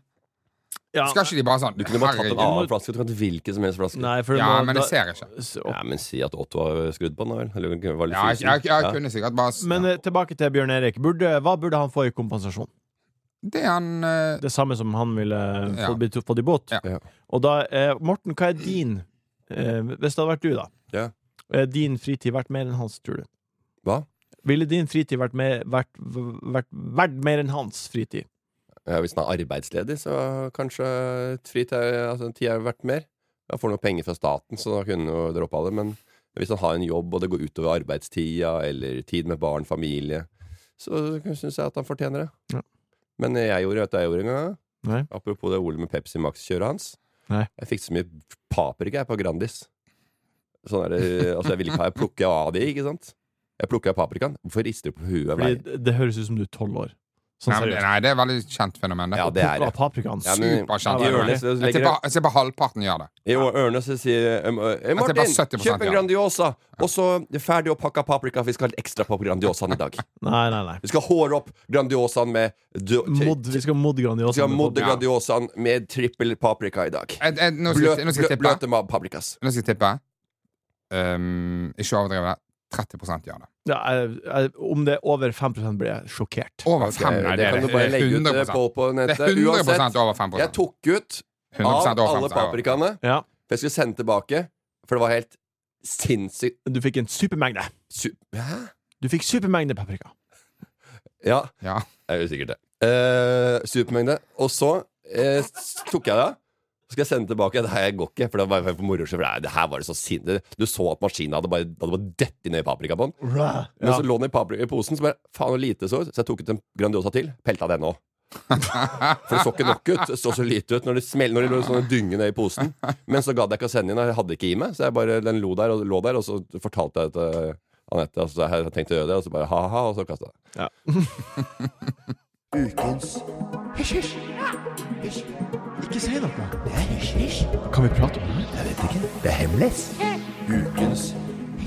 Ja. skal ikke de bare sånn Du kunne bare tatt en herregud. annen flaske. Du kan ta hvilken som helst flaske. Nei, for Ja, må- men da- jeg ser ikke. s- opp- Ja, men si at Otto har skrudd på den, da vel? Eller det var litt Ja, jeg, jeg, fysen. jeg Ja. kunne sikkert bare Men eh, tilbake til Bjørn Erik. Burde, hva burde han få i kompensasjon? Det er en eh, Det samme som han ville Ja. fått, blitt- fått i båt. Ja. Ja. Og da, eh, Morten, hva er din eh, Hvis det hadde vært du, da. Ja. Eh, din fritid vært mer enn hans, tror du? Hva? Ville din fritid vært, mer, vært, vært, vært mer enn hans fritid? Ja, hvis den er arbeidsledig, så kanskje fritid altså, tid er verdt mer. Da får han jo penger fra staten, så da kunne han jo droppe av det. Men hvis han har en jobb, og det går utover arbeidstida, eller tid med barn, familie, så syns jeg at han fortjener det. Ja. Men jeg gjorde vet du hva jeg gjorde en gang. da? Nei. Apropos det Ole med Pepsi Max-kjøret hans. Nei. Jeg fikk så mye paprika jeg, på Grandis. Sånn er det, altså Jeg ville ikke ha Jeg plukket av de, ikke sant? Jeg plukka paprikaen. Hvorfor rister du på huet? hver- Fordi det, det høres ut som du er tolv år. Sånn nei, men- seriøst. nei, det er et veldig kjent fenomen, det. Ja, det er det. Av paprikaen. Ja, men, Superkjent. I Ørnes så jeg legger tipper, jeg tipper halvparten gjør det. I Ør- Ørnes så sier um, uh, eh, tipper Martin, 70% kjøp en ja. Grandiosa, og så ferdig å pakke paprika. for Vi skal ha litt ekstra på Grandiosaen i <laughs> dag. Nei, nei, nei. Vi skal håre opp Grandiosaen med du- Mod, vi skal modde Vi Grandiosa. skal modde Ja. Grandiosaen med trippel paprika i dag. Jeg, jeg, nå, skal, Bløt, jeg- nå skal jeg blø- tippe. bløte ma- paprikas. Nå skal jeg tippe. Um, ikke overdrive det. 30 gjør det. Ja, jeg, jeg, om det er over 5 blir jeg sjokkert. Over Ok, 5 er det. Eh, kan du det bare er legge ut 100 eh, poll på Det nettet. er 100 Uansett, over 5 jeg tok ut av 100% over alle 5%. paprikaene. Ja, For jeg skulle sende tilbake, for det var helt sinnssykt du fikk en supermengde. su- Hæ? Du fikk supermengde paprika. Ja, Ja. Jeg er usikkert det. Eh, supermengde. Og så eh, s- tok jeg det. Så skal jeg sende tilbake. Det her går ikke. For det var bare for moro skyld. for det her- Det her var det så sinne. Du så at maskinen hadde bare, hadde bare dett ned i paprika på den. Ja. <laughs> Men så lå den i paprika i posen, så bare faen så lite det så ut. Så jeg tok ut en Grandiosa til. Pelta den òg. For det så ikke nok ut. Det så så lite ut når det smell, når det lå sånne dynger ned i posen. Men så gadd jeg ikke å sende inn, og jeg hadde ikke i meg. Så jeg bare, den lo der og lå der, og så fortalte jeg til Anette altså, jeg hadde tenkt å gjøre det, og så bare ha-ha, og så kasta jeg. Ja. Ikke si noe. Kan vi prate om det? Jeg vet ikke. Det er hemmelig. Ukens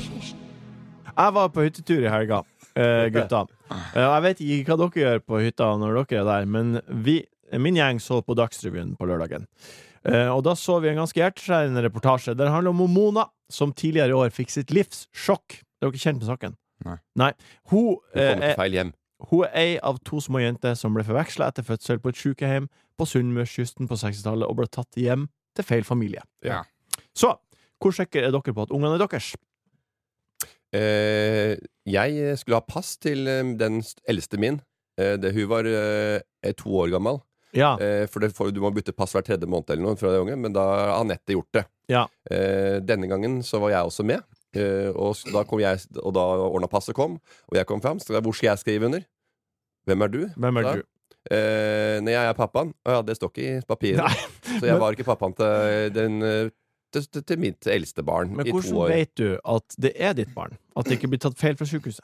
Jeg var på hyttetur i helga, eh, gutta. Eh, og jeg vet ikke hva dere gjør på hytta når dere er der, men vi, min gjeng så på Dagsrevyen på lørdagen. Eh, og da så vi en ganske hjerteskjærende reportasje. Den handler om Mona, som tidligere i år fikk sitt livs sjokk. Er dere kjent med saken? Nei. Hun Hun eh, kom til feil hjem. hun er ei av to små jenter som ble forveksla etter fødsel på et sykehjem på Sunnmørskysten på 60-tallet og ble tatt hjem til feil familie. Ja. Så hvor sikre er dere på at ungene er deres? Eh, jeg skulle ha pass til eh, den st- eldste min. Eh, det, hun var eh, eh, to år gammel. Ja. Eh, for det får, du må bytte pass hver tredje måned eller noe fra de unge, men da har Anette gjort det. Ja. Eh, denne gangen så var jeg også med, eh, og s- da, kom jeg, og da ordna passet kom, og jeg kom fram. Så da, hvor skal jeg skrive under? Hvem er du? Hvem er Da- du? Eh, nei, jeg er pappaen. Å ja, det står ikke i papiret. Nei, så jeg men- var ikke pappaen til, den, eh, til, til, til mitt eldste barn Men i to hvordan år. vet du at det er ditt barn? At det ikke blir tatt feil fra sykehuset?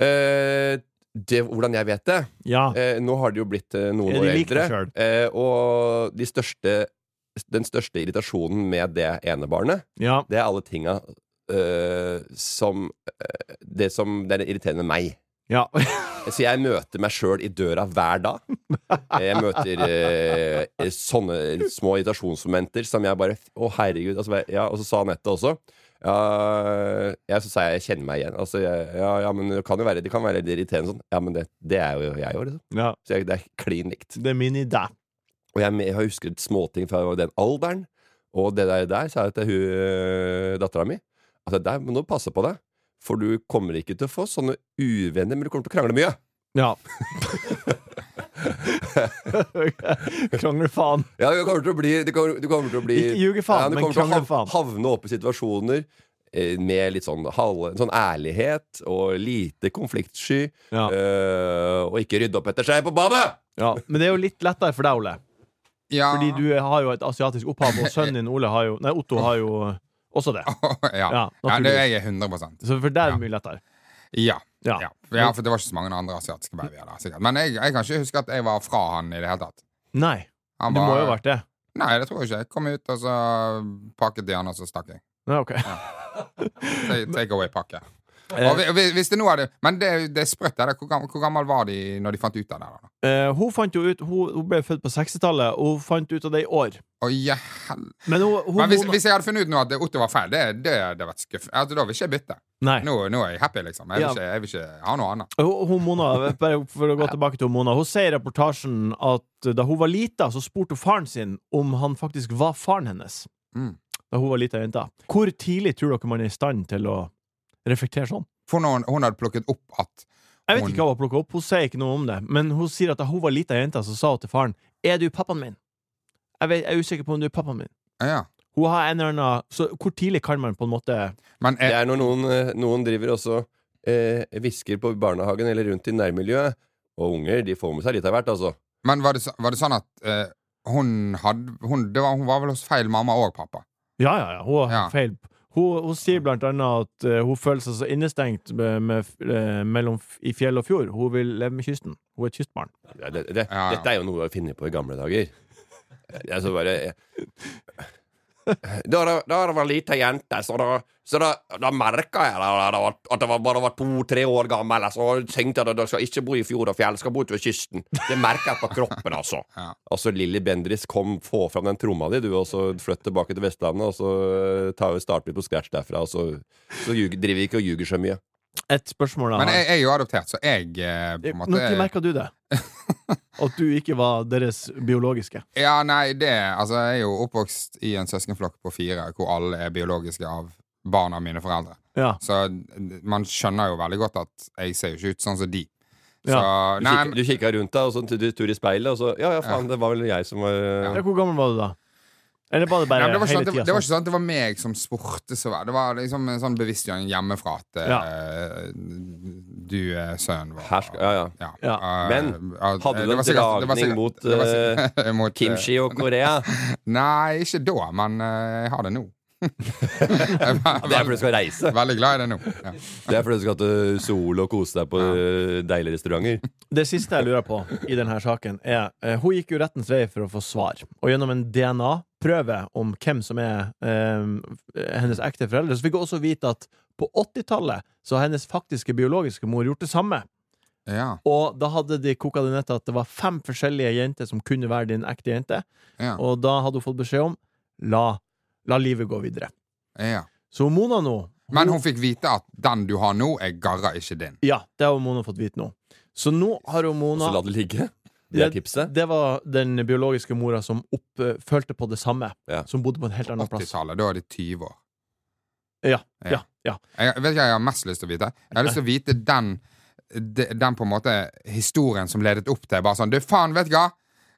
Eh, det, hvordan jeg vet det? Ja. <laughs> Eh, nå har de jo blitt eh, noen Ja, de år liker eldre. det Eh, og de største, den største irritasjonen med det ene barnet, ja. det er alle tinga eh, som eh, Det som det er irriterende med meg. ja. Så jeg møter meg sjøl i døra hver dag. Jeg møter eh, sånne små irritasjonsmomenter som jeg bare Å, herregud. Altså, bare- ja, og så sa Anette også. Ja, jeg, så sa jeg jeg kjenner meg igjen. Altså, jeg, ja, ja, men det kan jo være, det kan være litt irriterende sånn. Ja, men det, det er jo jeg òg, liksom. ja. Så jeg, det er klin likt. Det er min idé. Og jeg, jeg har husket småting fra den alderen. Og det der, der sa jeg til hun dattera mi at der må du passe på deg. For du kommer ikke til å få sånne uvenner, men du kommer til å krangle mye. Ja. <laughs> Krangler faen. Ja, du kommer til å bli Du kommer, du kommer til å bli Ikke ljuge faen, du men kommer til å krangle hav- faen. Havne oppe i situasjoner eh, med litt sånn, halv, sånn ærlighet og lite konfliktsky. Ja. eh, og ikke rydde opp etter seg på badet! ja. Men det er jo litt lettere for deg, Ole. Ja. Fordi du har jo et asiatisk opphav, og sønnen din Ole har jo Nei, Otto har jo også det. <laughs> ja. Ja, ja, det naturligvis. er jeg 100 Så for deg er Ja. det mye lettere. Ja. Ja. Ja. ja, for det var ikke så mange andre asiatiske babyer der. sikkert Men jeg, jeg kan ikke huske at jeg var fra han i det hele tatt. Nei. Han Det må var- jo ha vært det. Nei, det tror jeg ikke. Jeg kom ut, og så pakket de han, og så stakk jeg. Ja, ok. Take, take away-pakke. Eh. Og vi- vi- hvis det nå hadde Men det, det er sprøtt. det der. Hvor, gammel, hvor gammel var de når de fant ut av det? da? Eh, hun, fant jo ut, hun, hun ble født på 60-tallet, og hun fant ut av det i år. Å, ja, hel- Men hun, hun Men hvis, Mona- hvis jeg hadde funnet ut nå at Otto var feil, det, det, det hadde vært skuffende. Altså, da vil ikke jeg bytte. Nei. Nå, nå er jeg happy, liksom. Jeg vil Ja. ikke, jeg vil ikke ha noe annet. Hun, hun Mona, bare for å gå tilbake til hun Mona Hun sier i reportasjen at da hun var lita, så spurte hun faren sin om han faktisk var faren hennes. Mm. Da hun var lita jente. Hvor tidlig tror dere man er i stand til å reflektere sånn? For når hun, hun hadde plukket opp at Jeg vet Hun- ikke hva hun plukka opp, hun sier ikke noe om det. Men hun sier at da hun var lita jente, så sa hun til faren Er du pappaen min? Jeg, vet, jeg er usikker på om du er pappaen min. Ja. Hun har en eller annen Så hvor tidlig kan man på en måte Men Det jeg, er når noen, eh, noen driver også eh, hvisker på barnehagen eller rundt i nærmiljøet. Og unger de får med seg litt av hvert, altså. men var, det, så- var det sånn at eh, hun hadde hun, det var, hun var vel hos feil mamma og pappa? Ja, ja, ja. Hun har Ja. feil. Hun, hun sier blant annet at eh, hun føler seg så innestengt med, med, eh, mellom, f- i fjell og fjord. Hun vil leve med kysten. Hun er et kystbarn. Ja, det, det, Ja, ja. Dette er jo noe å finne på i gamle dager. Eh, Altså bare eh, Da da- da det var lita jente, så da, så da, da merka jeg da, da, var- at jeg var, bare var to-tre år gammel. Altså, og tenkte jeg at jeg skal ikke bo i fjord og fjell, jeg skal bo ute ved kysten. Det merka jeg på kroppen, altså. Ja. Altså, Lilly Bendris, kom, få fram den tromma di, du, og så flytt tilbake til Vestlandet, og så eh, tar vi starter vi på scratch derfra, og så, så ljuger, driver vi ikke og ljuger så mye. Et spørsmål Men jeg jeg, har. jeg er jo adoptert, så jeg eh, på en måte Når merka du <laughs> det? At du ikke var deres biologiske? Ja, nei, det Altså, jeg er jo oppvokst i en søskenflokk på fire hvor alle er biologiske av barna mine foreldre. Ja. Så d- man skjønner jo veldig godt at jeg ser jo ikke ut sånn som de. Så Ja. Du, nei, kikka- du kikka rundt deg, og så tok du en tur i speilet, og så Ja, ja, faen, det var vel jeg som var eh, ja. Hvor gammel var du da? Eller var det men- bare nei, men det, var ikke hele sånn, det, tida? det var ikke sånn at det var meg som spurte så veldig. Det var liksom en sånn bevisstgjøring hjemmefra at eh, du eh, sønnen vår. Hersk- ja, ja. eh, Men, ja, hadde du det en var sikkert- det var dragning sikkert- mot, det var sikkert- eh, <laughs> mot, eh, Kimchi og <laughs> Korea. Nei, ikke da, men eh, jeg har det nå. <laughs> <laughs> jeg var Det er fordi du skal reise. veldig glad i det nå. Ja. Det er fordi du skal til Sol og kose deg på eh, deilige restauranter. Det siste jeg lurer på i denne saken, er eh, Hun gikk jo rettens vei for å få svar, og gjennom en DNA-prøve om hvem som er eh, hennes ekte foreldre, så fikk hun også vite at på 80-tallet så har hennes faktiske biologiske mor gjort det samme. Ja, Og da hadde de koka det ned til at det var fem forskjellige jenter som kunne være din ekte jente, ja, og da hadde hun fått beskjed om la, la livet gå videre. ja. Så Mona nå Men hun fikk vite at den du har nå, er garra ikke din. Ja, det har Mona fått vite nå. Så nå har hun Og så Mona la det ligge. Det er tipset. Det var den biologiske mora som opp, eh, følte på det samme. Ja. Som bodde på en helt annen plass. 80-tallet, da er de 20 år. Ja, Ja. ja, ja. Jeg, vet ikke hva jeg har mest lyst til å vite? Jeg har lyst til å vite den, de- den på en måte historien som ledet opp til bare sånn Du, faen, vet du hva?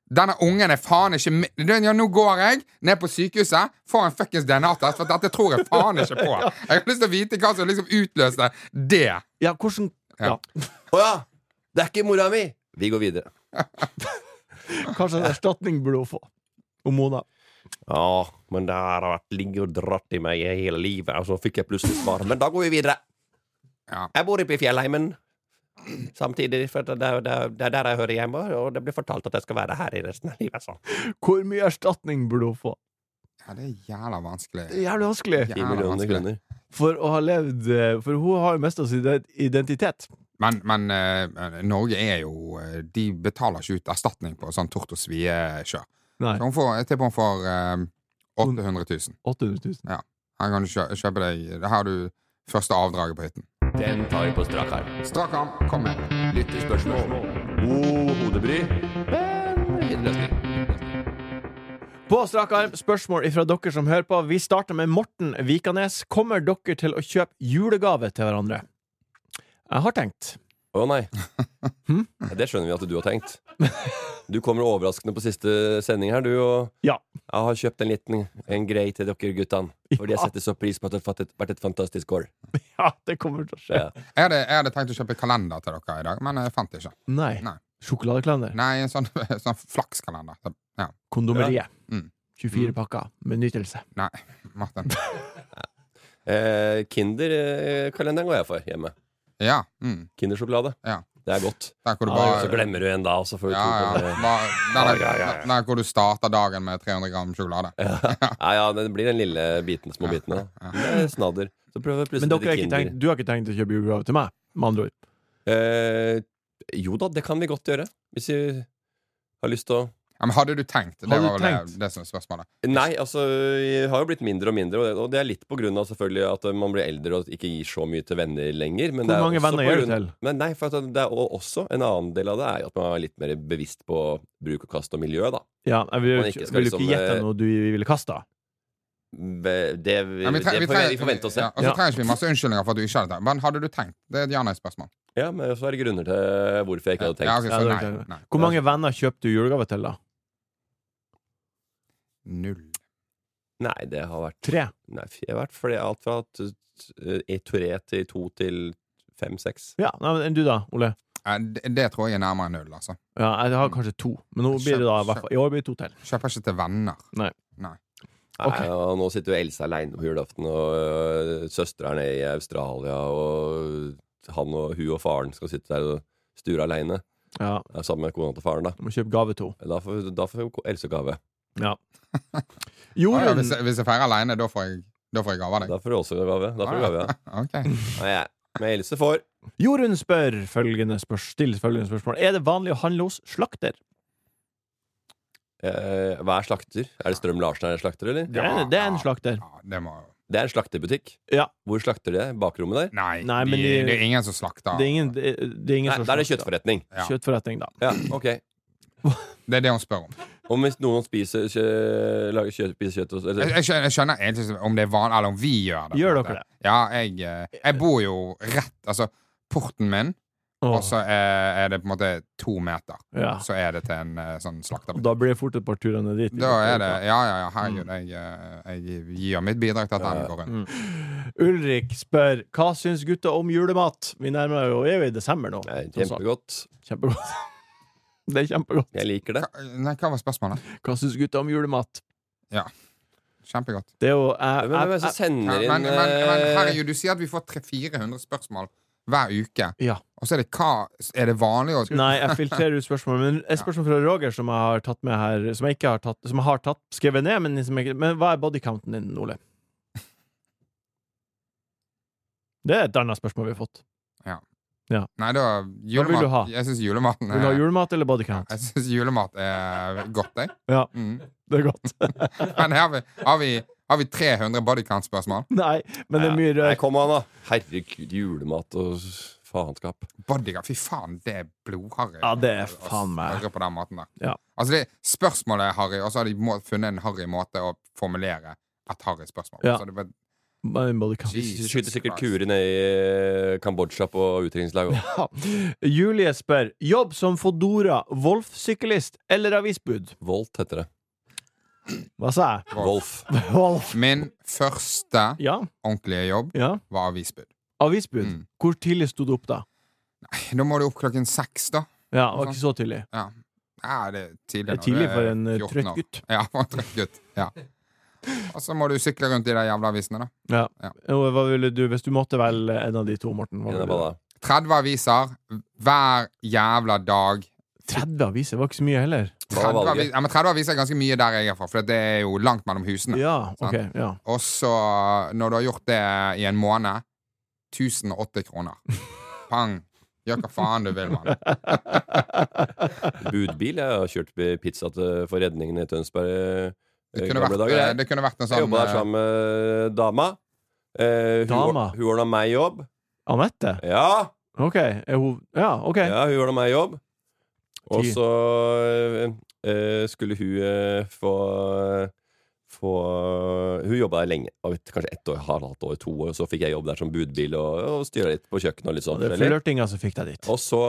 Denne ungen er faen ikke mi- du, ja, Nå går jeg ned på sykehuset, får en fuckings DNA-test, for dette tror jeg faen ikke på. Jeg har lyst til å vite hva som liksom utløste det. Ja, hvordan ja. <laughs> Ja. Å ja! Det er ikke mora mi! Vi går videre. Kanskje en erstatning burde hun få. Og Mona. Ja, men det har vært ligget og dratt i meg hele livet, og så fikk jeg plutselig svar. Men da går vi videre. Ja. Jeg bor oppe i fjellheimen. Samtidig, for det er det er- det er der jeg hører hjemme, og det blir fortalt at jeg skal være her i resten av livet. altså. Så. Hvor mye erstatning burde hun få? Ja, det er jævla vanskelig. Det er jævlig vanskelig. Jævla 10 millioner vanskelig. kroner. For å ha levd eh, For hun har jo mista sin ident- identitet. Men, men eh, Norge er jo eh, De betaler ikke ut erstatning på sånn tort og svie-kjør. Nei. Så hun får, jeg tipper hun får eh, 800 000. 800 000. Her kan du kjø kjøpe deg Her har du første avdraget på hytten. Den tar vi på strak arm. Strak arm, kom med. Lyttespørsmål. God hodebry. På strak arm, spørsmål ifra dere som hører på. Vi starter med Morten Vikanes. Kommer dere til å kjøpe julegave til hverandre? Jeg har tenkt. Å <laughs> nei. Ja, Det skjønner vi at du har tenkt. Du kommer overraskende på siste sending her, du. Og Ja. jeg har kjøpt en liten en greie til dere guttene. Fordi jeg Ja. setter så pris på at det har vært et- vært et fantastisk år. Ja, det kommer til å skje. Ja. Jeg hadde, jeg hadde tenkt å kjøpe kalender til dere i dag, men jeg fant det ikke. Nei. Nei. Sjokoladekalender. Nei, en sånn, <laughs> sånn flakskalender. Så- Ja. Kondomeriet. Mm. 24 pakker med nytelse. Nei, Martin. Eh, Kinder-kalenderen går jeg for hjemme. Ja. Mm, Kindersjokolade. ja. Det er godt. Der <laughs> hvor du Ah, så bare glemmer du en da, og så får du ja, to. <laughs> ja. på det. Bare, <laughs> der, der, der hvor du starter dagen med 300 gram sjokolade. Ja, ja, det blir den lille biten, små bitene. Det er Snadder. Så prøver jeg Men plutselig dere har ikke tenkt, du har ikke tenkt å kjøpe julegave til meg? Med andre ord. Eh, jo da, det kan vi godt gjøre. Hvis vi har lyst til å Ja, men hadde du tenkt? Det Hadde var du vel det, tenkt? det som er spørsmålet. Nei, altså, jeg har jo blitt mindre og mindre, og det, og det er litt på grunn av selvfølgelig at eh, man blir eldre og ikke gir så mye til venner lenger. Men Hvor det er mange også venner på gjør du grunn- til? Men nei, for at det er og også en annen del av det er jo at man er litt mer bevisst på bruk og kast og miljø, da. Ja, jeg vil, Man ikke skal vil du liksom, ikke gjette eh, noe du ville kasta? Ve- Det, Ja, vi, tre- det vi, får trenger- vi, vi får vente og se. Ja, og så Ja. trenger ikke vi masse unnskyldninger for at du ikke hadde tenkt. Men hadde du tenkt? Det er et ja-nei-spørsmål. Ja, men så er det grunner til hvorfor jeg ikke hadde tenkt. Ja, ok, Ja, det så er nei, klart. nei. Hvor mange venner kjøpte du julegave til, da? Null. Nei, det har vært Tre? Nei, jeg har vært fordi alt fra t- t- eh, tre til to til fem-seks. Ja, nei, men Du, da, Ole? Ja, det, det tror jeg er nærmere null, altså. Ja, jeg Mm. har kanskje to. Men nå blir det da i hvert fall I år blir det to til. Kjøper ikke til venner. Nei. Ok. Nei, og nå sitter jo Else aleine på julaften, og øh, søstera er nede i Australia, og han og hun og faren skal sitte der og sture aleine. Ja, Sammen med kona til faren, da. Du må kjøpe gave to. Da får, da får jo Else gave. Ja. Ah, ja, Jorunn hvis, jeg, hvis jeg feirer alene, da får jeg, da får jeg Ah, gave av deg. Da får du også gave. Da får du Ah, gave, ja. <laughs> ok. Nei, jeg- Men Else får. Jorunn spør følgende spørs, stiller følgende spørsmål. Er det vanlig å handle hos slakter? Eh, hva er slakter? Er det Strøm Larsen er en slakter, eller? Det er, det er en ja. slakter. Ja, det må Det er en slakterbutikk. Ja. Hvor slakter de? Bakrommet der? Nei, Nei, de, men de- det er ingen som slakter. Det er ingen, det er det er ingen Nei, som der er det slakter. kjøttforretning. Ja. Kjøttforretning, da. Ja, ok Det er det hun spør om. Om hvis noen spiser kjø, lager kjø, spiser kjøtt og- Jeg, eller, jeg, skjønner, jeg skjønner egentlig ikke om det er vanlig, eller om vi gjør det. på Gjør en dere måte. Ja, jeg, eh, jeg bor jo rett Altså, porten min Åh, og så er, er det på en måte to meter. ja. Så er det til en eh, sånn slakterbil. Da blir det fort et par turer ned dit. Da er det Ja, ja, ja, Mm. herregud. Jeg, eh, jeg gir mitt bidrag til at den går rundt. Ulrik spør hva syns gutta om julemat. Vi nærmer jo, er jo i desember nå. Nei, tross alt. Kjempegodt. Kjempegodt. <laughs> Det er kjempegodt. Jeg liker det. Nei, hva var spørsmålet? Hva syns gutta om julemat? Kjempegodt. Det er jo Hvem jeg, er jeg, jeg, det som Ja, sender Men, men, inn men eh, herregud, du sier at vi får 300-400 spørsmål hver uke. Ja. Og så er det hva Er det vanlig å Nei, jeg filtrerer ut spørsmål. Men et spørsmål fra Roger som jeg har tatt med her Som jeg ikke har tatt, som jeg har tatt skrevet ned, men, som jeg ikke, men hva er bodycounten din, Ole? Det er et annet spørsmål vi har fått. Nei, da vil du ha? julemat, Jeg syns julematen Vil du ha er julemat eller bodycount? jeg syns julemat er godt, jeg. Ja. Mm. Det er godt. Men her har vi, har vi, har vi 300 bodycount-spørsmål. Nei, men det er mye Nei, rør. kom an, da. Herregud, julemat og faenskap. Bodyguard, fy faen, det er blodharry. Ja, det er å- å faen meg. spørre på den måten der. Ja. Altså, det spørsmålet er harry, og så har de må, funnet en harry måte å formulere et harry spørsmål. Ja. Så det er bare, Bare en bodycount. De Jesus skyter sikkert Christ. kurer ned i eh, Kambodsja på utdrikningslag òg. Ja. Julie spør Jobb som Fodora, Wolf-syklist eller avisbud? Volt heter det. Hva sa jeg? Wolf. <laughs> Wolf. Min første Ja, ordentlige jobb ja. var avisbud. Avisbud. Mm. Hvor tidlig sto du opp da? Da må du opp klokken seks, da. Ja, det var ikke så tidlig. Ja. Ja, det er tidlig. Det er når tidlig du for en eh, 14 trøtt år. gutt. Ja, for en trøtt gutt. Ja. Og så må du sykle rundt i de jævla avisene, da. Ja. Ja. Og Hva ville du, hvis du måtte velge en av de to, Morten? Hva Ja, ville det du? var det. 30 aviser hver jævla dag. 30 aviser var ikke så mye heller. 30 valget? aviser, ja, men 30 aviser er ganske mye der jeg er fra, for det er jo langt mellom husene. Ja, ok. Ja. <laughs> Og så, når du har gjort det i en måned 1008 <laughs> kroner. Pang! Gjør hva faen du vil, mann. Budbil. Jeg har kjørt pizza til, for redningen i Tønsberg eh, Det i kunne vært, gamle dager. jeg. det kunne vært en Jeg sånn jobba der sammen med dama. Eh, hun Dama? or- hun ordna meg jobb. Anette? Ja, Ok. Er hun Ja, ok. ja hun ordna meg jobb. Og Ti. så eh, eh, skulle hun eh, få få Hun jobba der lenge. Jeg vet, Kanskje ett år, halvannet år, to år. Og så fikk jeg jobb der som budbil og, og styra litt på kjøkkenet. Og litt sånn Det er forskjellig. flørtinga som fikk deg dit. Og så,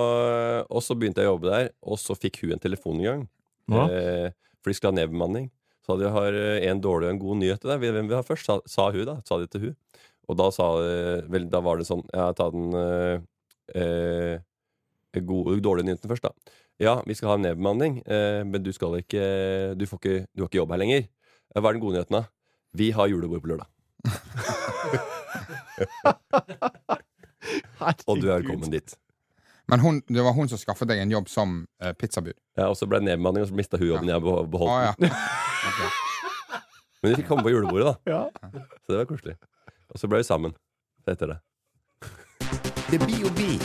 og så begynte jeg å jobbe der, og så fikk hun en telefon en gang. Ja. Eh, for de skulle ha nedbemanning. Så hadde jeg har eh, en dårlig og en god nyhet til deg. Hvem vil du ha først? Sa, sa hun, da. Sa de til hun. Og da sa eh, Vel, da var det sånn Ja, ta den eh, eh, gode, dårlige nyheten først, da. Ja, vi skal ha en nedbemanning, eh, men du skal ikke Du får ikke, du har ikke jobb her lenger. «Ja, Hva er den gode nyheten, da? Vi har julebord på lørdag. Og du er velkommen dit. Men hun, det var hun som skaffet deg en jobb som eh, pizzabud. Ja, og så ble det nedbemanning, og så mista hun jobben jeg beho- Å beholdt. den. ja. <laughs> Men vi fikk komme på julebordet, da. Ja. Så det var koselig. Og så ble vi sammen etter det. Det blir jo bil.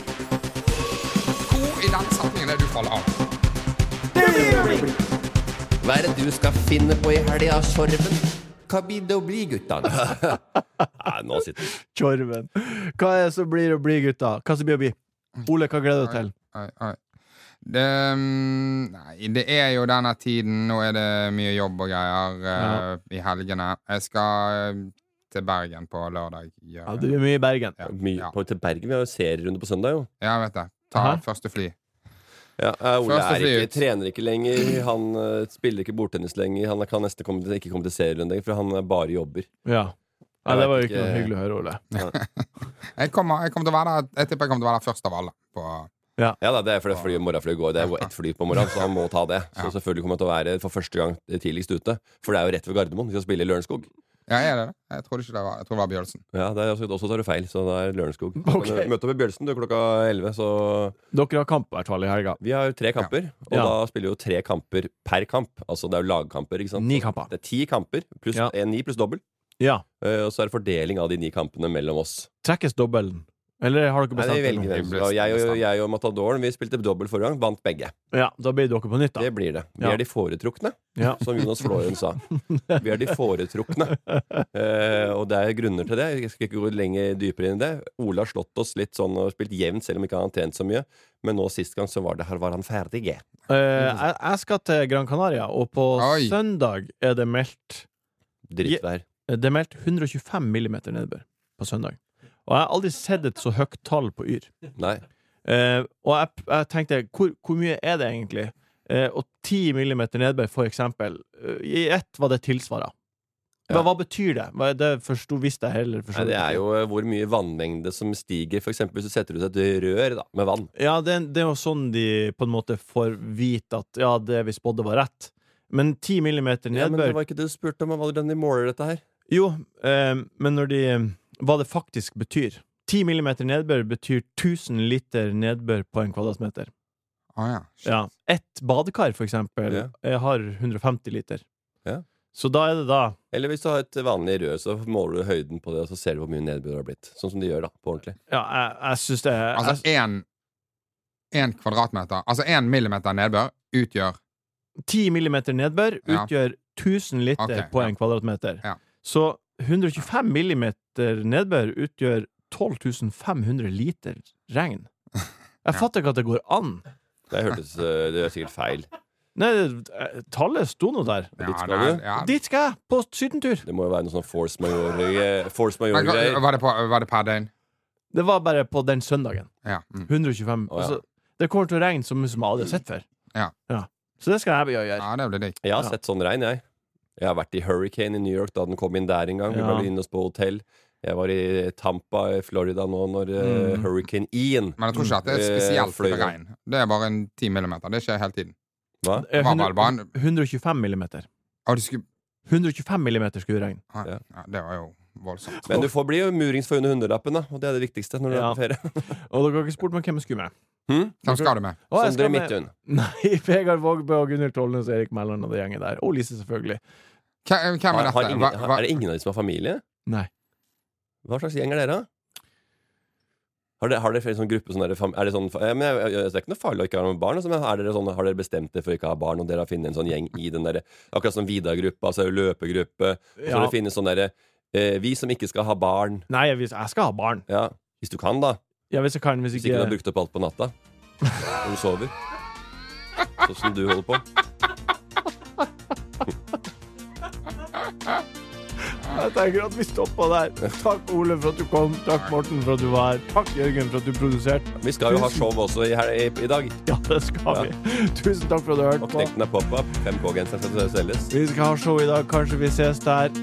Hvor i den setningen er det du faller av? Hva er det du skal finne på i helga, Sorven? Hva blir det å bli, guttene? Nei, nå sitter vi. Tjorven. Hva er det som blir å bli, gutta? Hva som blir å bli? Ole, hva gleder du deg til? Oi, oi. Det, mm, nei, det er jo denne tiden. Nå er det mye jobb og greier eh, i helgene. Jeg skal eh, til Bergen på lørdag. Gjøre. Ja, det blir mye i Bergen. Ja, Mye ja. på til Bergen. Vi har jo serierunde på søndag, jo. Ja, jeg vet det. Ta Aha. første fly. Ja, eh, Ole Først og er ikke, fremst. trener ikke lenger. Han eh, spiller ikke bordtennis lenger. Han kan nesten komme til, ikke komme til serierunde lenger, for han eh, bare jobber. Ja. Nei, Jeg det var jo vet ikke noe ikke- hyggelig å høre, Ole. Jeg, kommer, jeg, kommer til å være der, jeg tipper jeg kommer til å være der først av alle. På, Ja da, Det er fordi flyet morgenflyet går. Det er jo ett fly på morgenen, så han må ta det. Så selvfølgelig kommer han til å være for første gang tidligst ute. For det er jo rett ved Gardermoen. Vi skal spille i Lørenskog. ja, er det det? Jeg trodde ikke det var, jeg trodde det var Bjølsen. Ja, det er også, også tar du feil, så det er Lørenskog. Ok. Men, eh, Møt opp i Bjølsen du, klokka 11, så Dere har kamp i hvert fall i helga. Vi har jo tre kamper, og Ja. da spiller vi jo tre kamper per kamp. Altså det er jo lagkamper, ikke sant? Ni kamper. Det er ti kamper, pluss Ja. eh, ni pluss dobbel. Ja. Eh, og så er det fordeling av de ni kampene mellom oss. Trekkes dobbelen? Eller har dere Nei, vi bestemt velger det? hvem som- og jeg, og, jeg og Matadoren vi spilte dobbel forrige gang, vant begge. nå? Ja, da blir dere på nytt, da. Det blir det. Vi Ja. er de foretrukne, <laughs> Ja. som Jonas Flåren <laughs> sa. Vi er de foretrukne. Eh, og det er grunner til det. Jeg skal ikke gå lenger dypere inn i det. Ole har slått oss litt sånn og spilt jevnt, selv om ikke han har trent så mye. Men nå sist gang så var det her var han ferdig. Eh, jeg, jeg skal til Gran Canaria, og på Oi. søndag er det meldt eh, Drittvær. Det er meldt 125 millimeter nedbør på søndag. Og jeg har aldri sett et så høyt tall på Yr. Nei. Eh, og jeg, jeg tenkte, hvor, hvor mye er det egentlig? Eh, og 10 millimeter nedbør, for eksempel, eh, i ett var det tilsvaret. Hva, Ja. hva betyr det? Hva, det forsto visste jeg heller. forstod Nei, det ikke. er jo eh, hvor mye vannmengde som stiger. For eksempel hvis du setter ut et rør da, med vann. Ja, det, det er jo sånn de på en måte får vite at ja, det vi spådde var rett. Men 10 millimeter Ja, men nedbør det var ikke det du spurte om. Hvordan de måler dette her? Jo, eh, men når de Hva det faktisk betyr. 10 millimeter nedbør betyr 1000 liter nedbør på en kvadratmeter. Å ja. Shit. Ja. Ett badekar, for eksempel, Ja. eh, har 150 liter. Ja. Så da er det da Eller hvis du har et vanlig rør, så måler du høyden på det, og så ser du hvor mye nedbør det har blitt. Sånn som de gjør da, på ordentlig. Ja, jeg, jeg syns det er Altså én Én kvadratmeter Altså én millimeter nedbør utgjør 10 millimeter nedbør Ja. utgjør 1000 liter Ok, på ja. en kvadratmeter. Ja. Så 125 millimeter nedbør utgjør 12 500 liter <laughs> regn. Jeg fatter ikke at det går an. Det hørtes eh, Det er sikkert feil. Nei, det- eh, tallet sto nå der. ja, Dit skal det er- du. ja. Dit skal jeg! På sydentur! Det må jo være noe sånn force majeure- eh, force Men, majeure-greier. var, det på, var det per døgn? Det var bare på den søndagen. Ja. Mm. 125. Å, ja. altså, det kommer til å regne som som jeg aldri har sett før. Ja. Så det skal jeg gjøre. ja, det blir digg. Jeg har Ja. sett sånn regn, jeg. Jeg har vært i Hurricane i New York da den kom inn der en gang. Vi Ja. ble inn oss på hotell. Jeg var i Tampa i Florida nå når Mm. eh, Hurricane Ian Men jeg tror ikke at det er Eh, spesielt fløy. regn. Det er bare en ti millimeter. Det skjer hele tiden. Hva? Eh, Hva var det, bare en- 125 millimeter. Å, du skulle 125 millimeter skulle regne. ah, Ja. ja, Det var jo voldsomt. Men du får bli jo murings for under hundrelappen, da. Og det er det viktigste når du Ja. er på ferie. Og dere har ikke spurt meg hvem jeg skulle med. Hm? Hvem skal du med? Å, jeg Sondre skal med- <laughs> Midthun. Nei, Vegard Vågbø og Gunhild Tollnes og Erik Mæland og det gjengen der. Og Lise, selvfølgelig. Hvem hvem er Har, har dette? ingen, altså, Hva, har, hva, er det ingen av de som har familie? Nei. Hva slags gjeng er dere, da? Har dere, har dere flere sånn gruppe sånn der, fam- Er det sånn ja, men jeg, jeg, jeg- Det er ikke noe farlig å ikke ha noen barn, altså, men er dere sånn, har dere bestemt dere for ikke å ha barn, og dere har funnet en sånn gjeng i den derre Akkurat som Vidar-gruppa, altså løpegruppe. Og så Ja. har dere funnet sånn derre eh, Vi som ikke skal ha barn. Nei, jeg, jeg skal ha barn. Ja. Hvis du kan, da. Ja, hvis jeg kan. Hvis Hvis ikke du har ikke brukt opp alt på natta. Når du sover. Sånn som du holder på. Jeg tenker at vi stopper der. Takk, Ole, for at du kom. Takk, Morten, for at du var her. Takk, Jørgen, for at du produserte. Vi skal jo ha show også i, hel- i, i dag. Ja, det skal vi. Tusen takk for at du hørte Og på. knekten er pop-up. 5K-genseren skal selges. Vi skal ha show i dag. Kanskje vi ses der.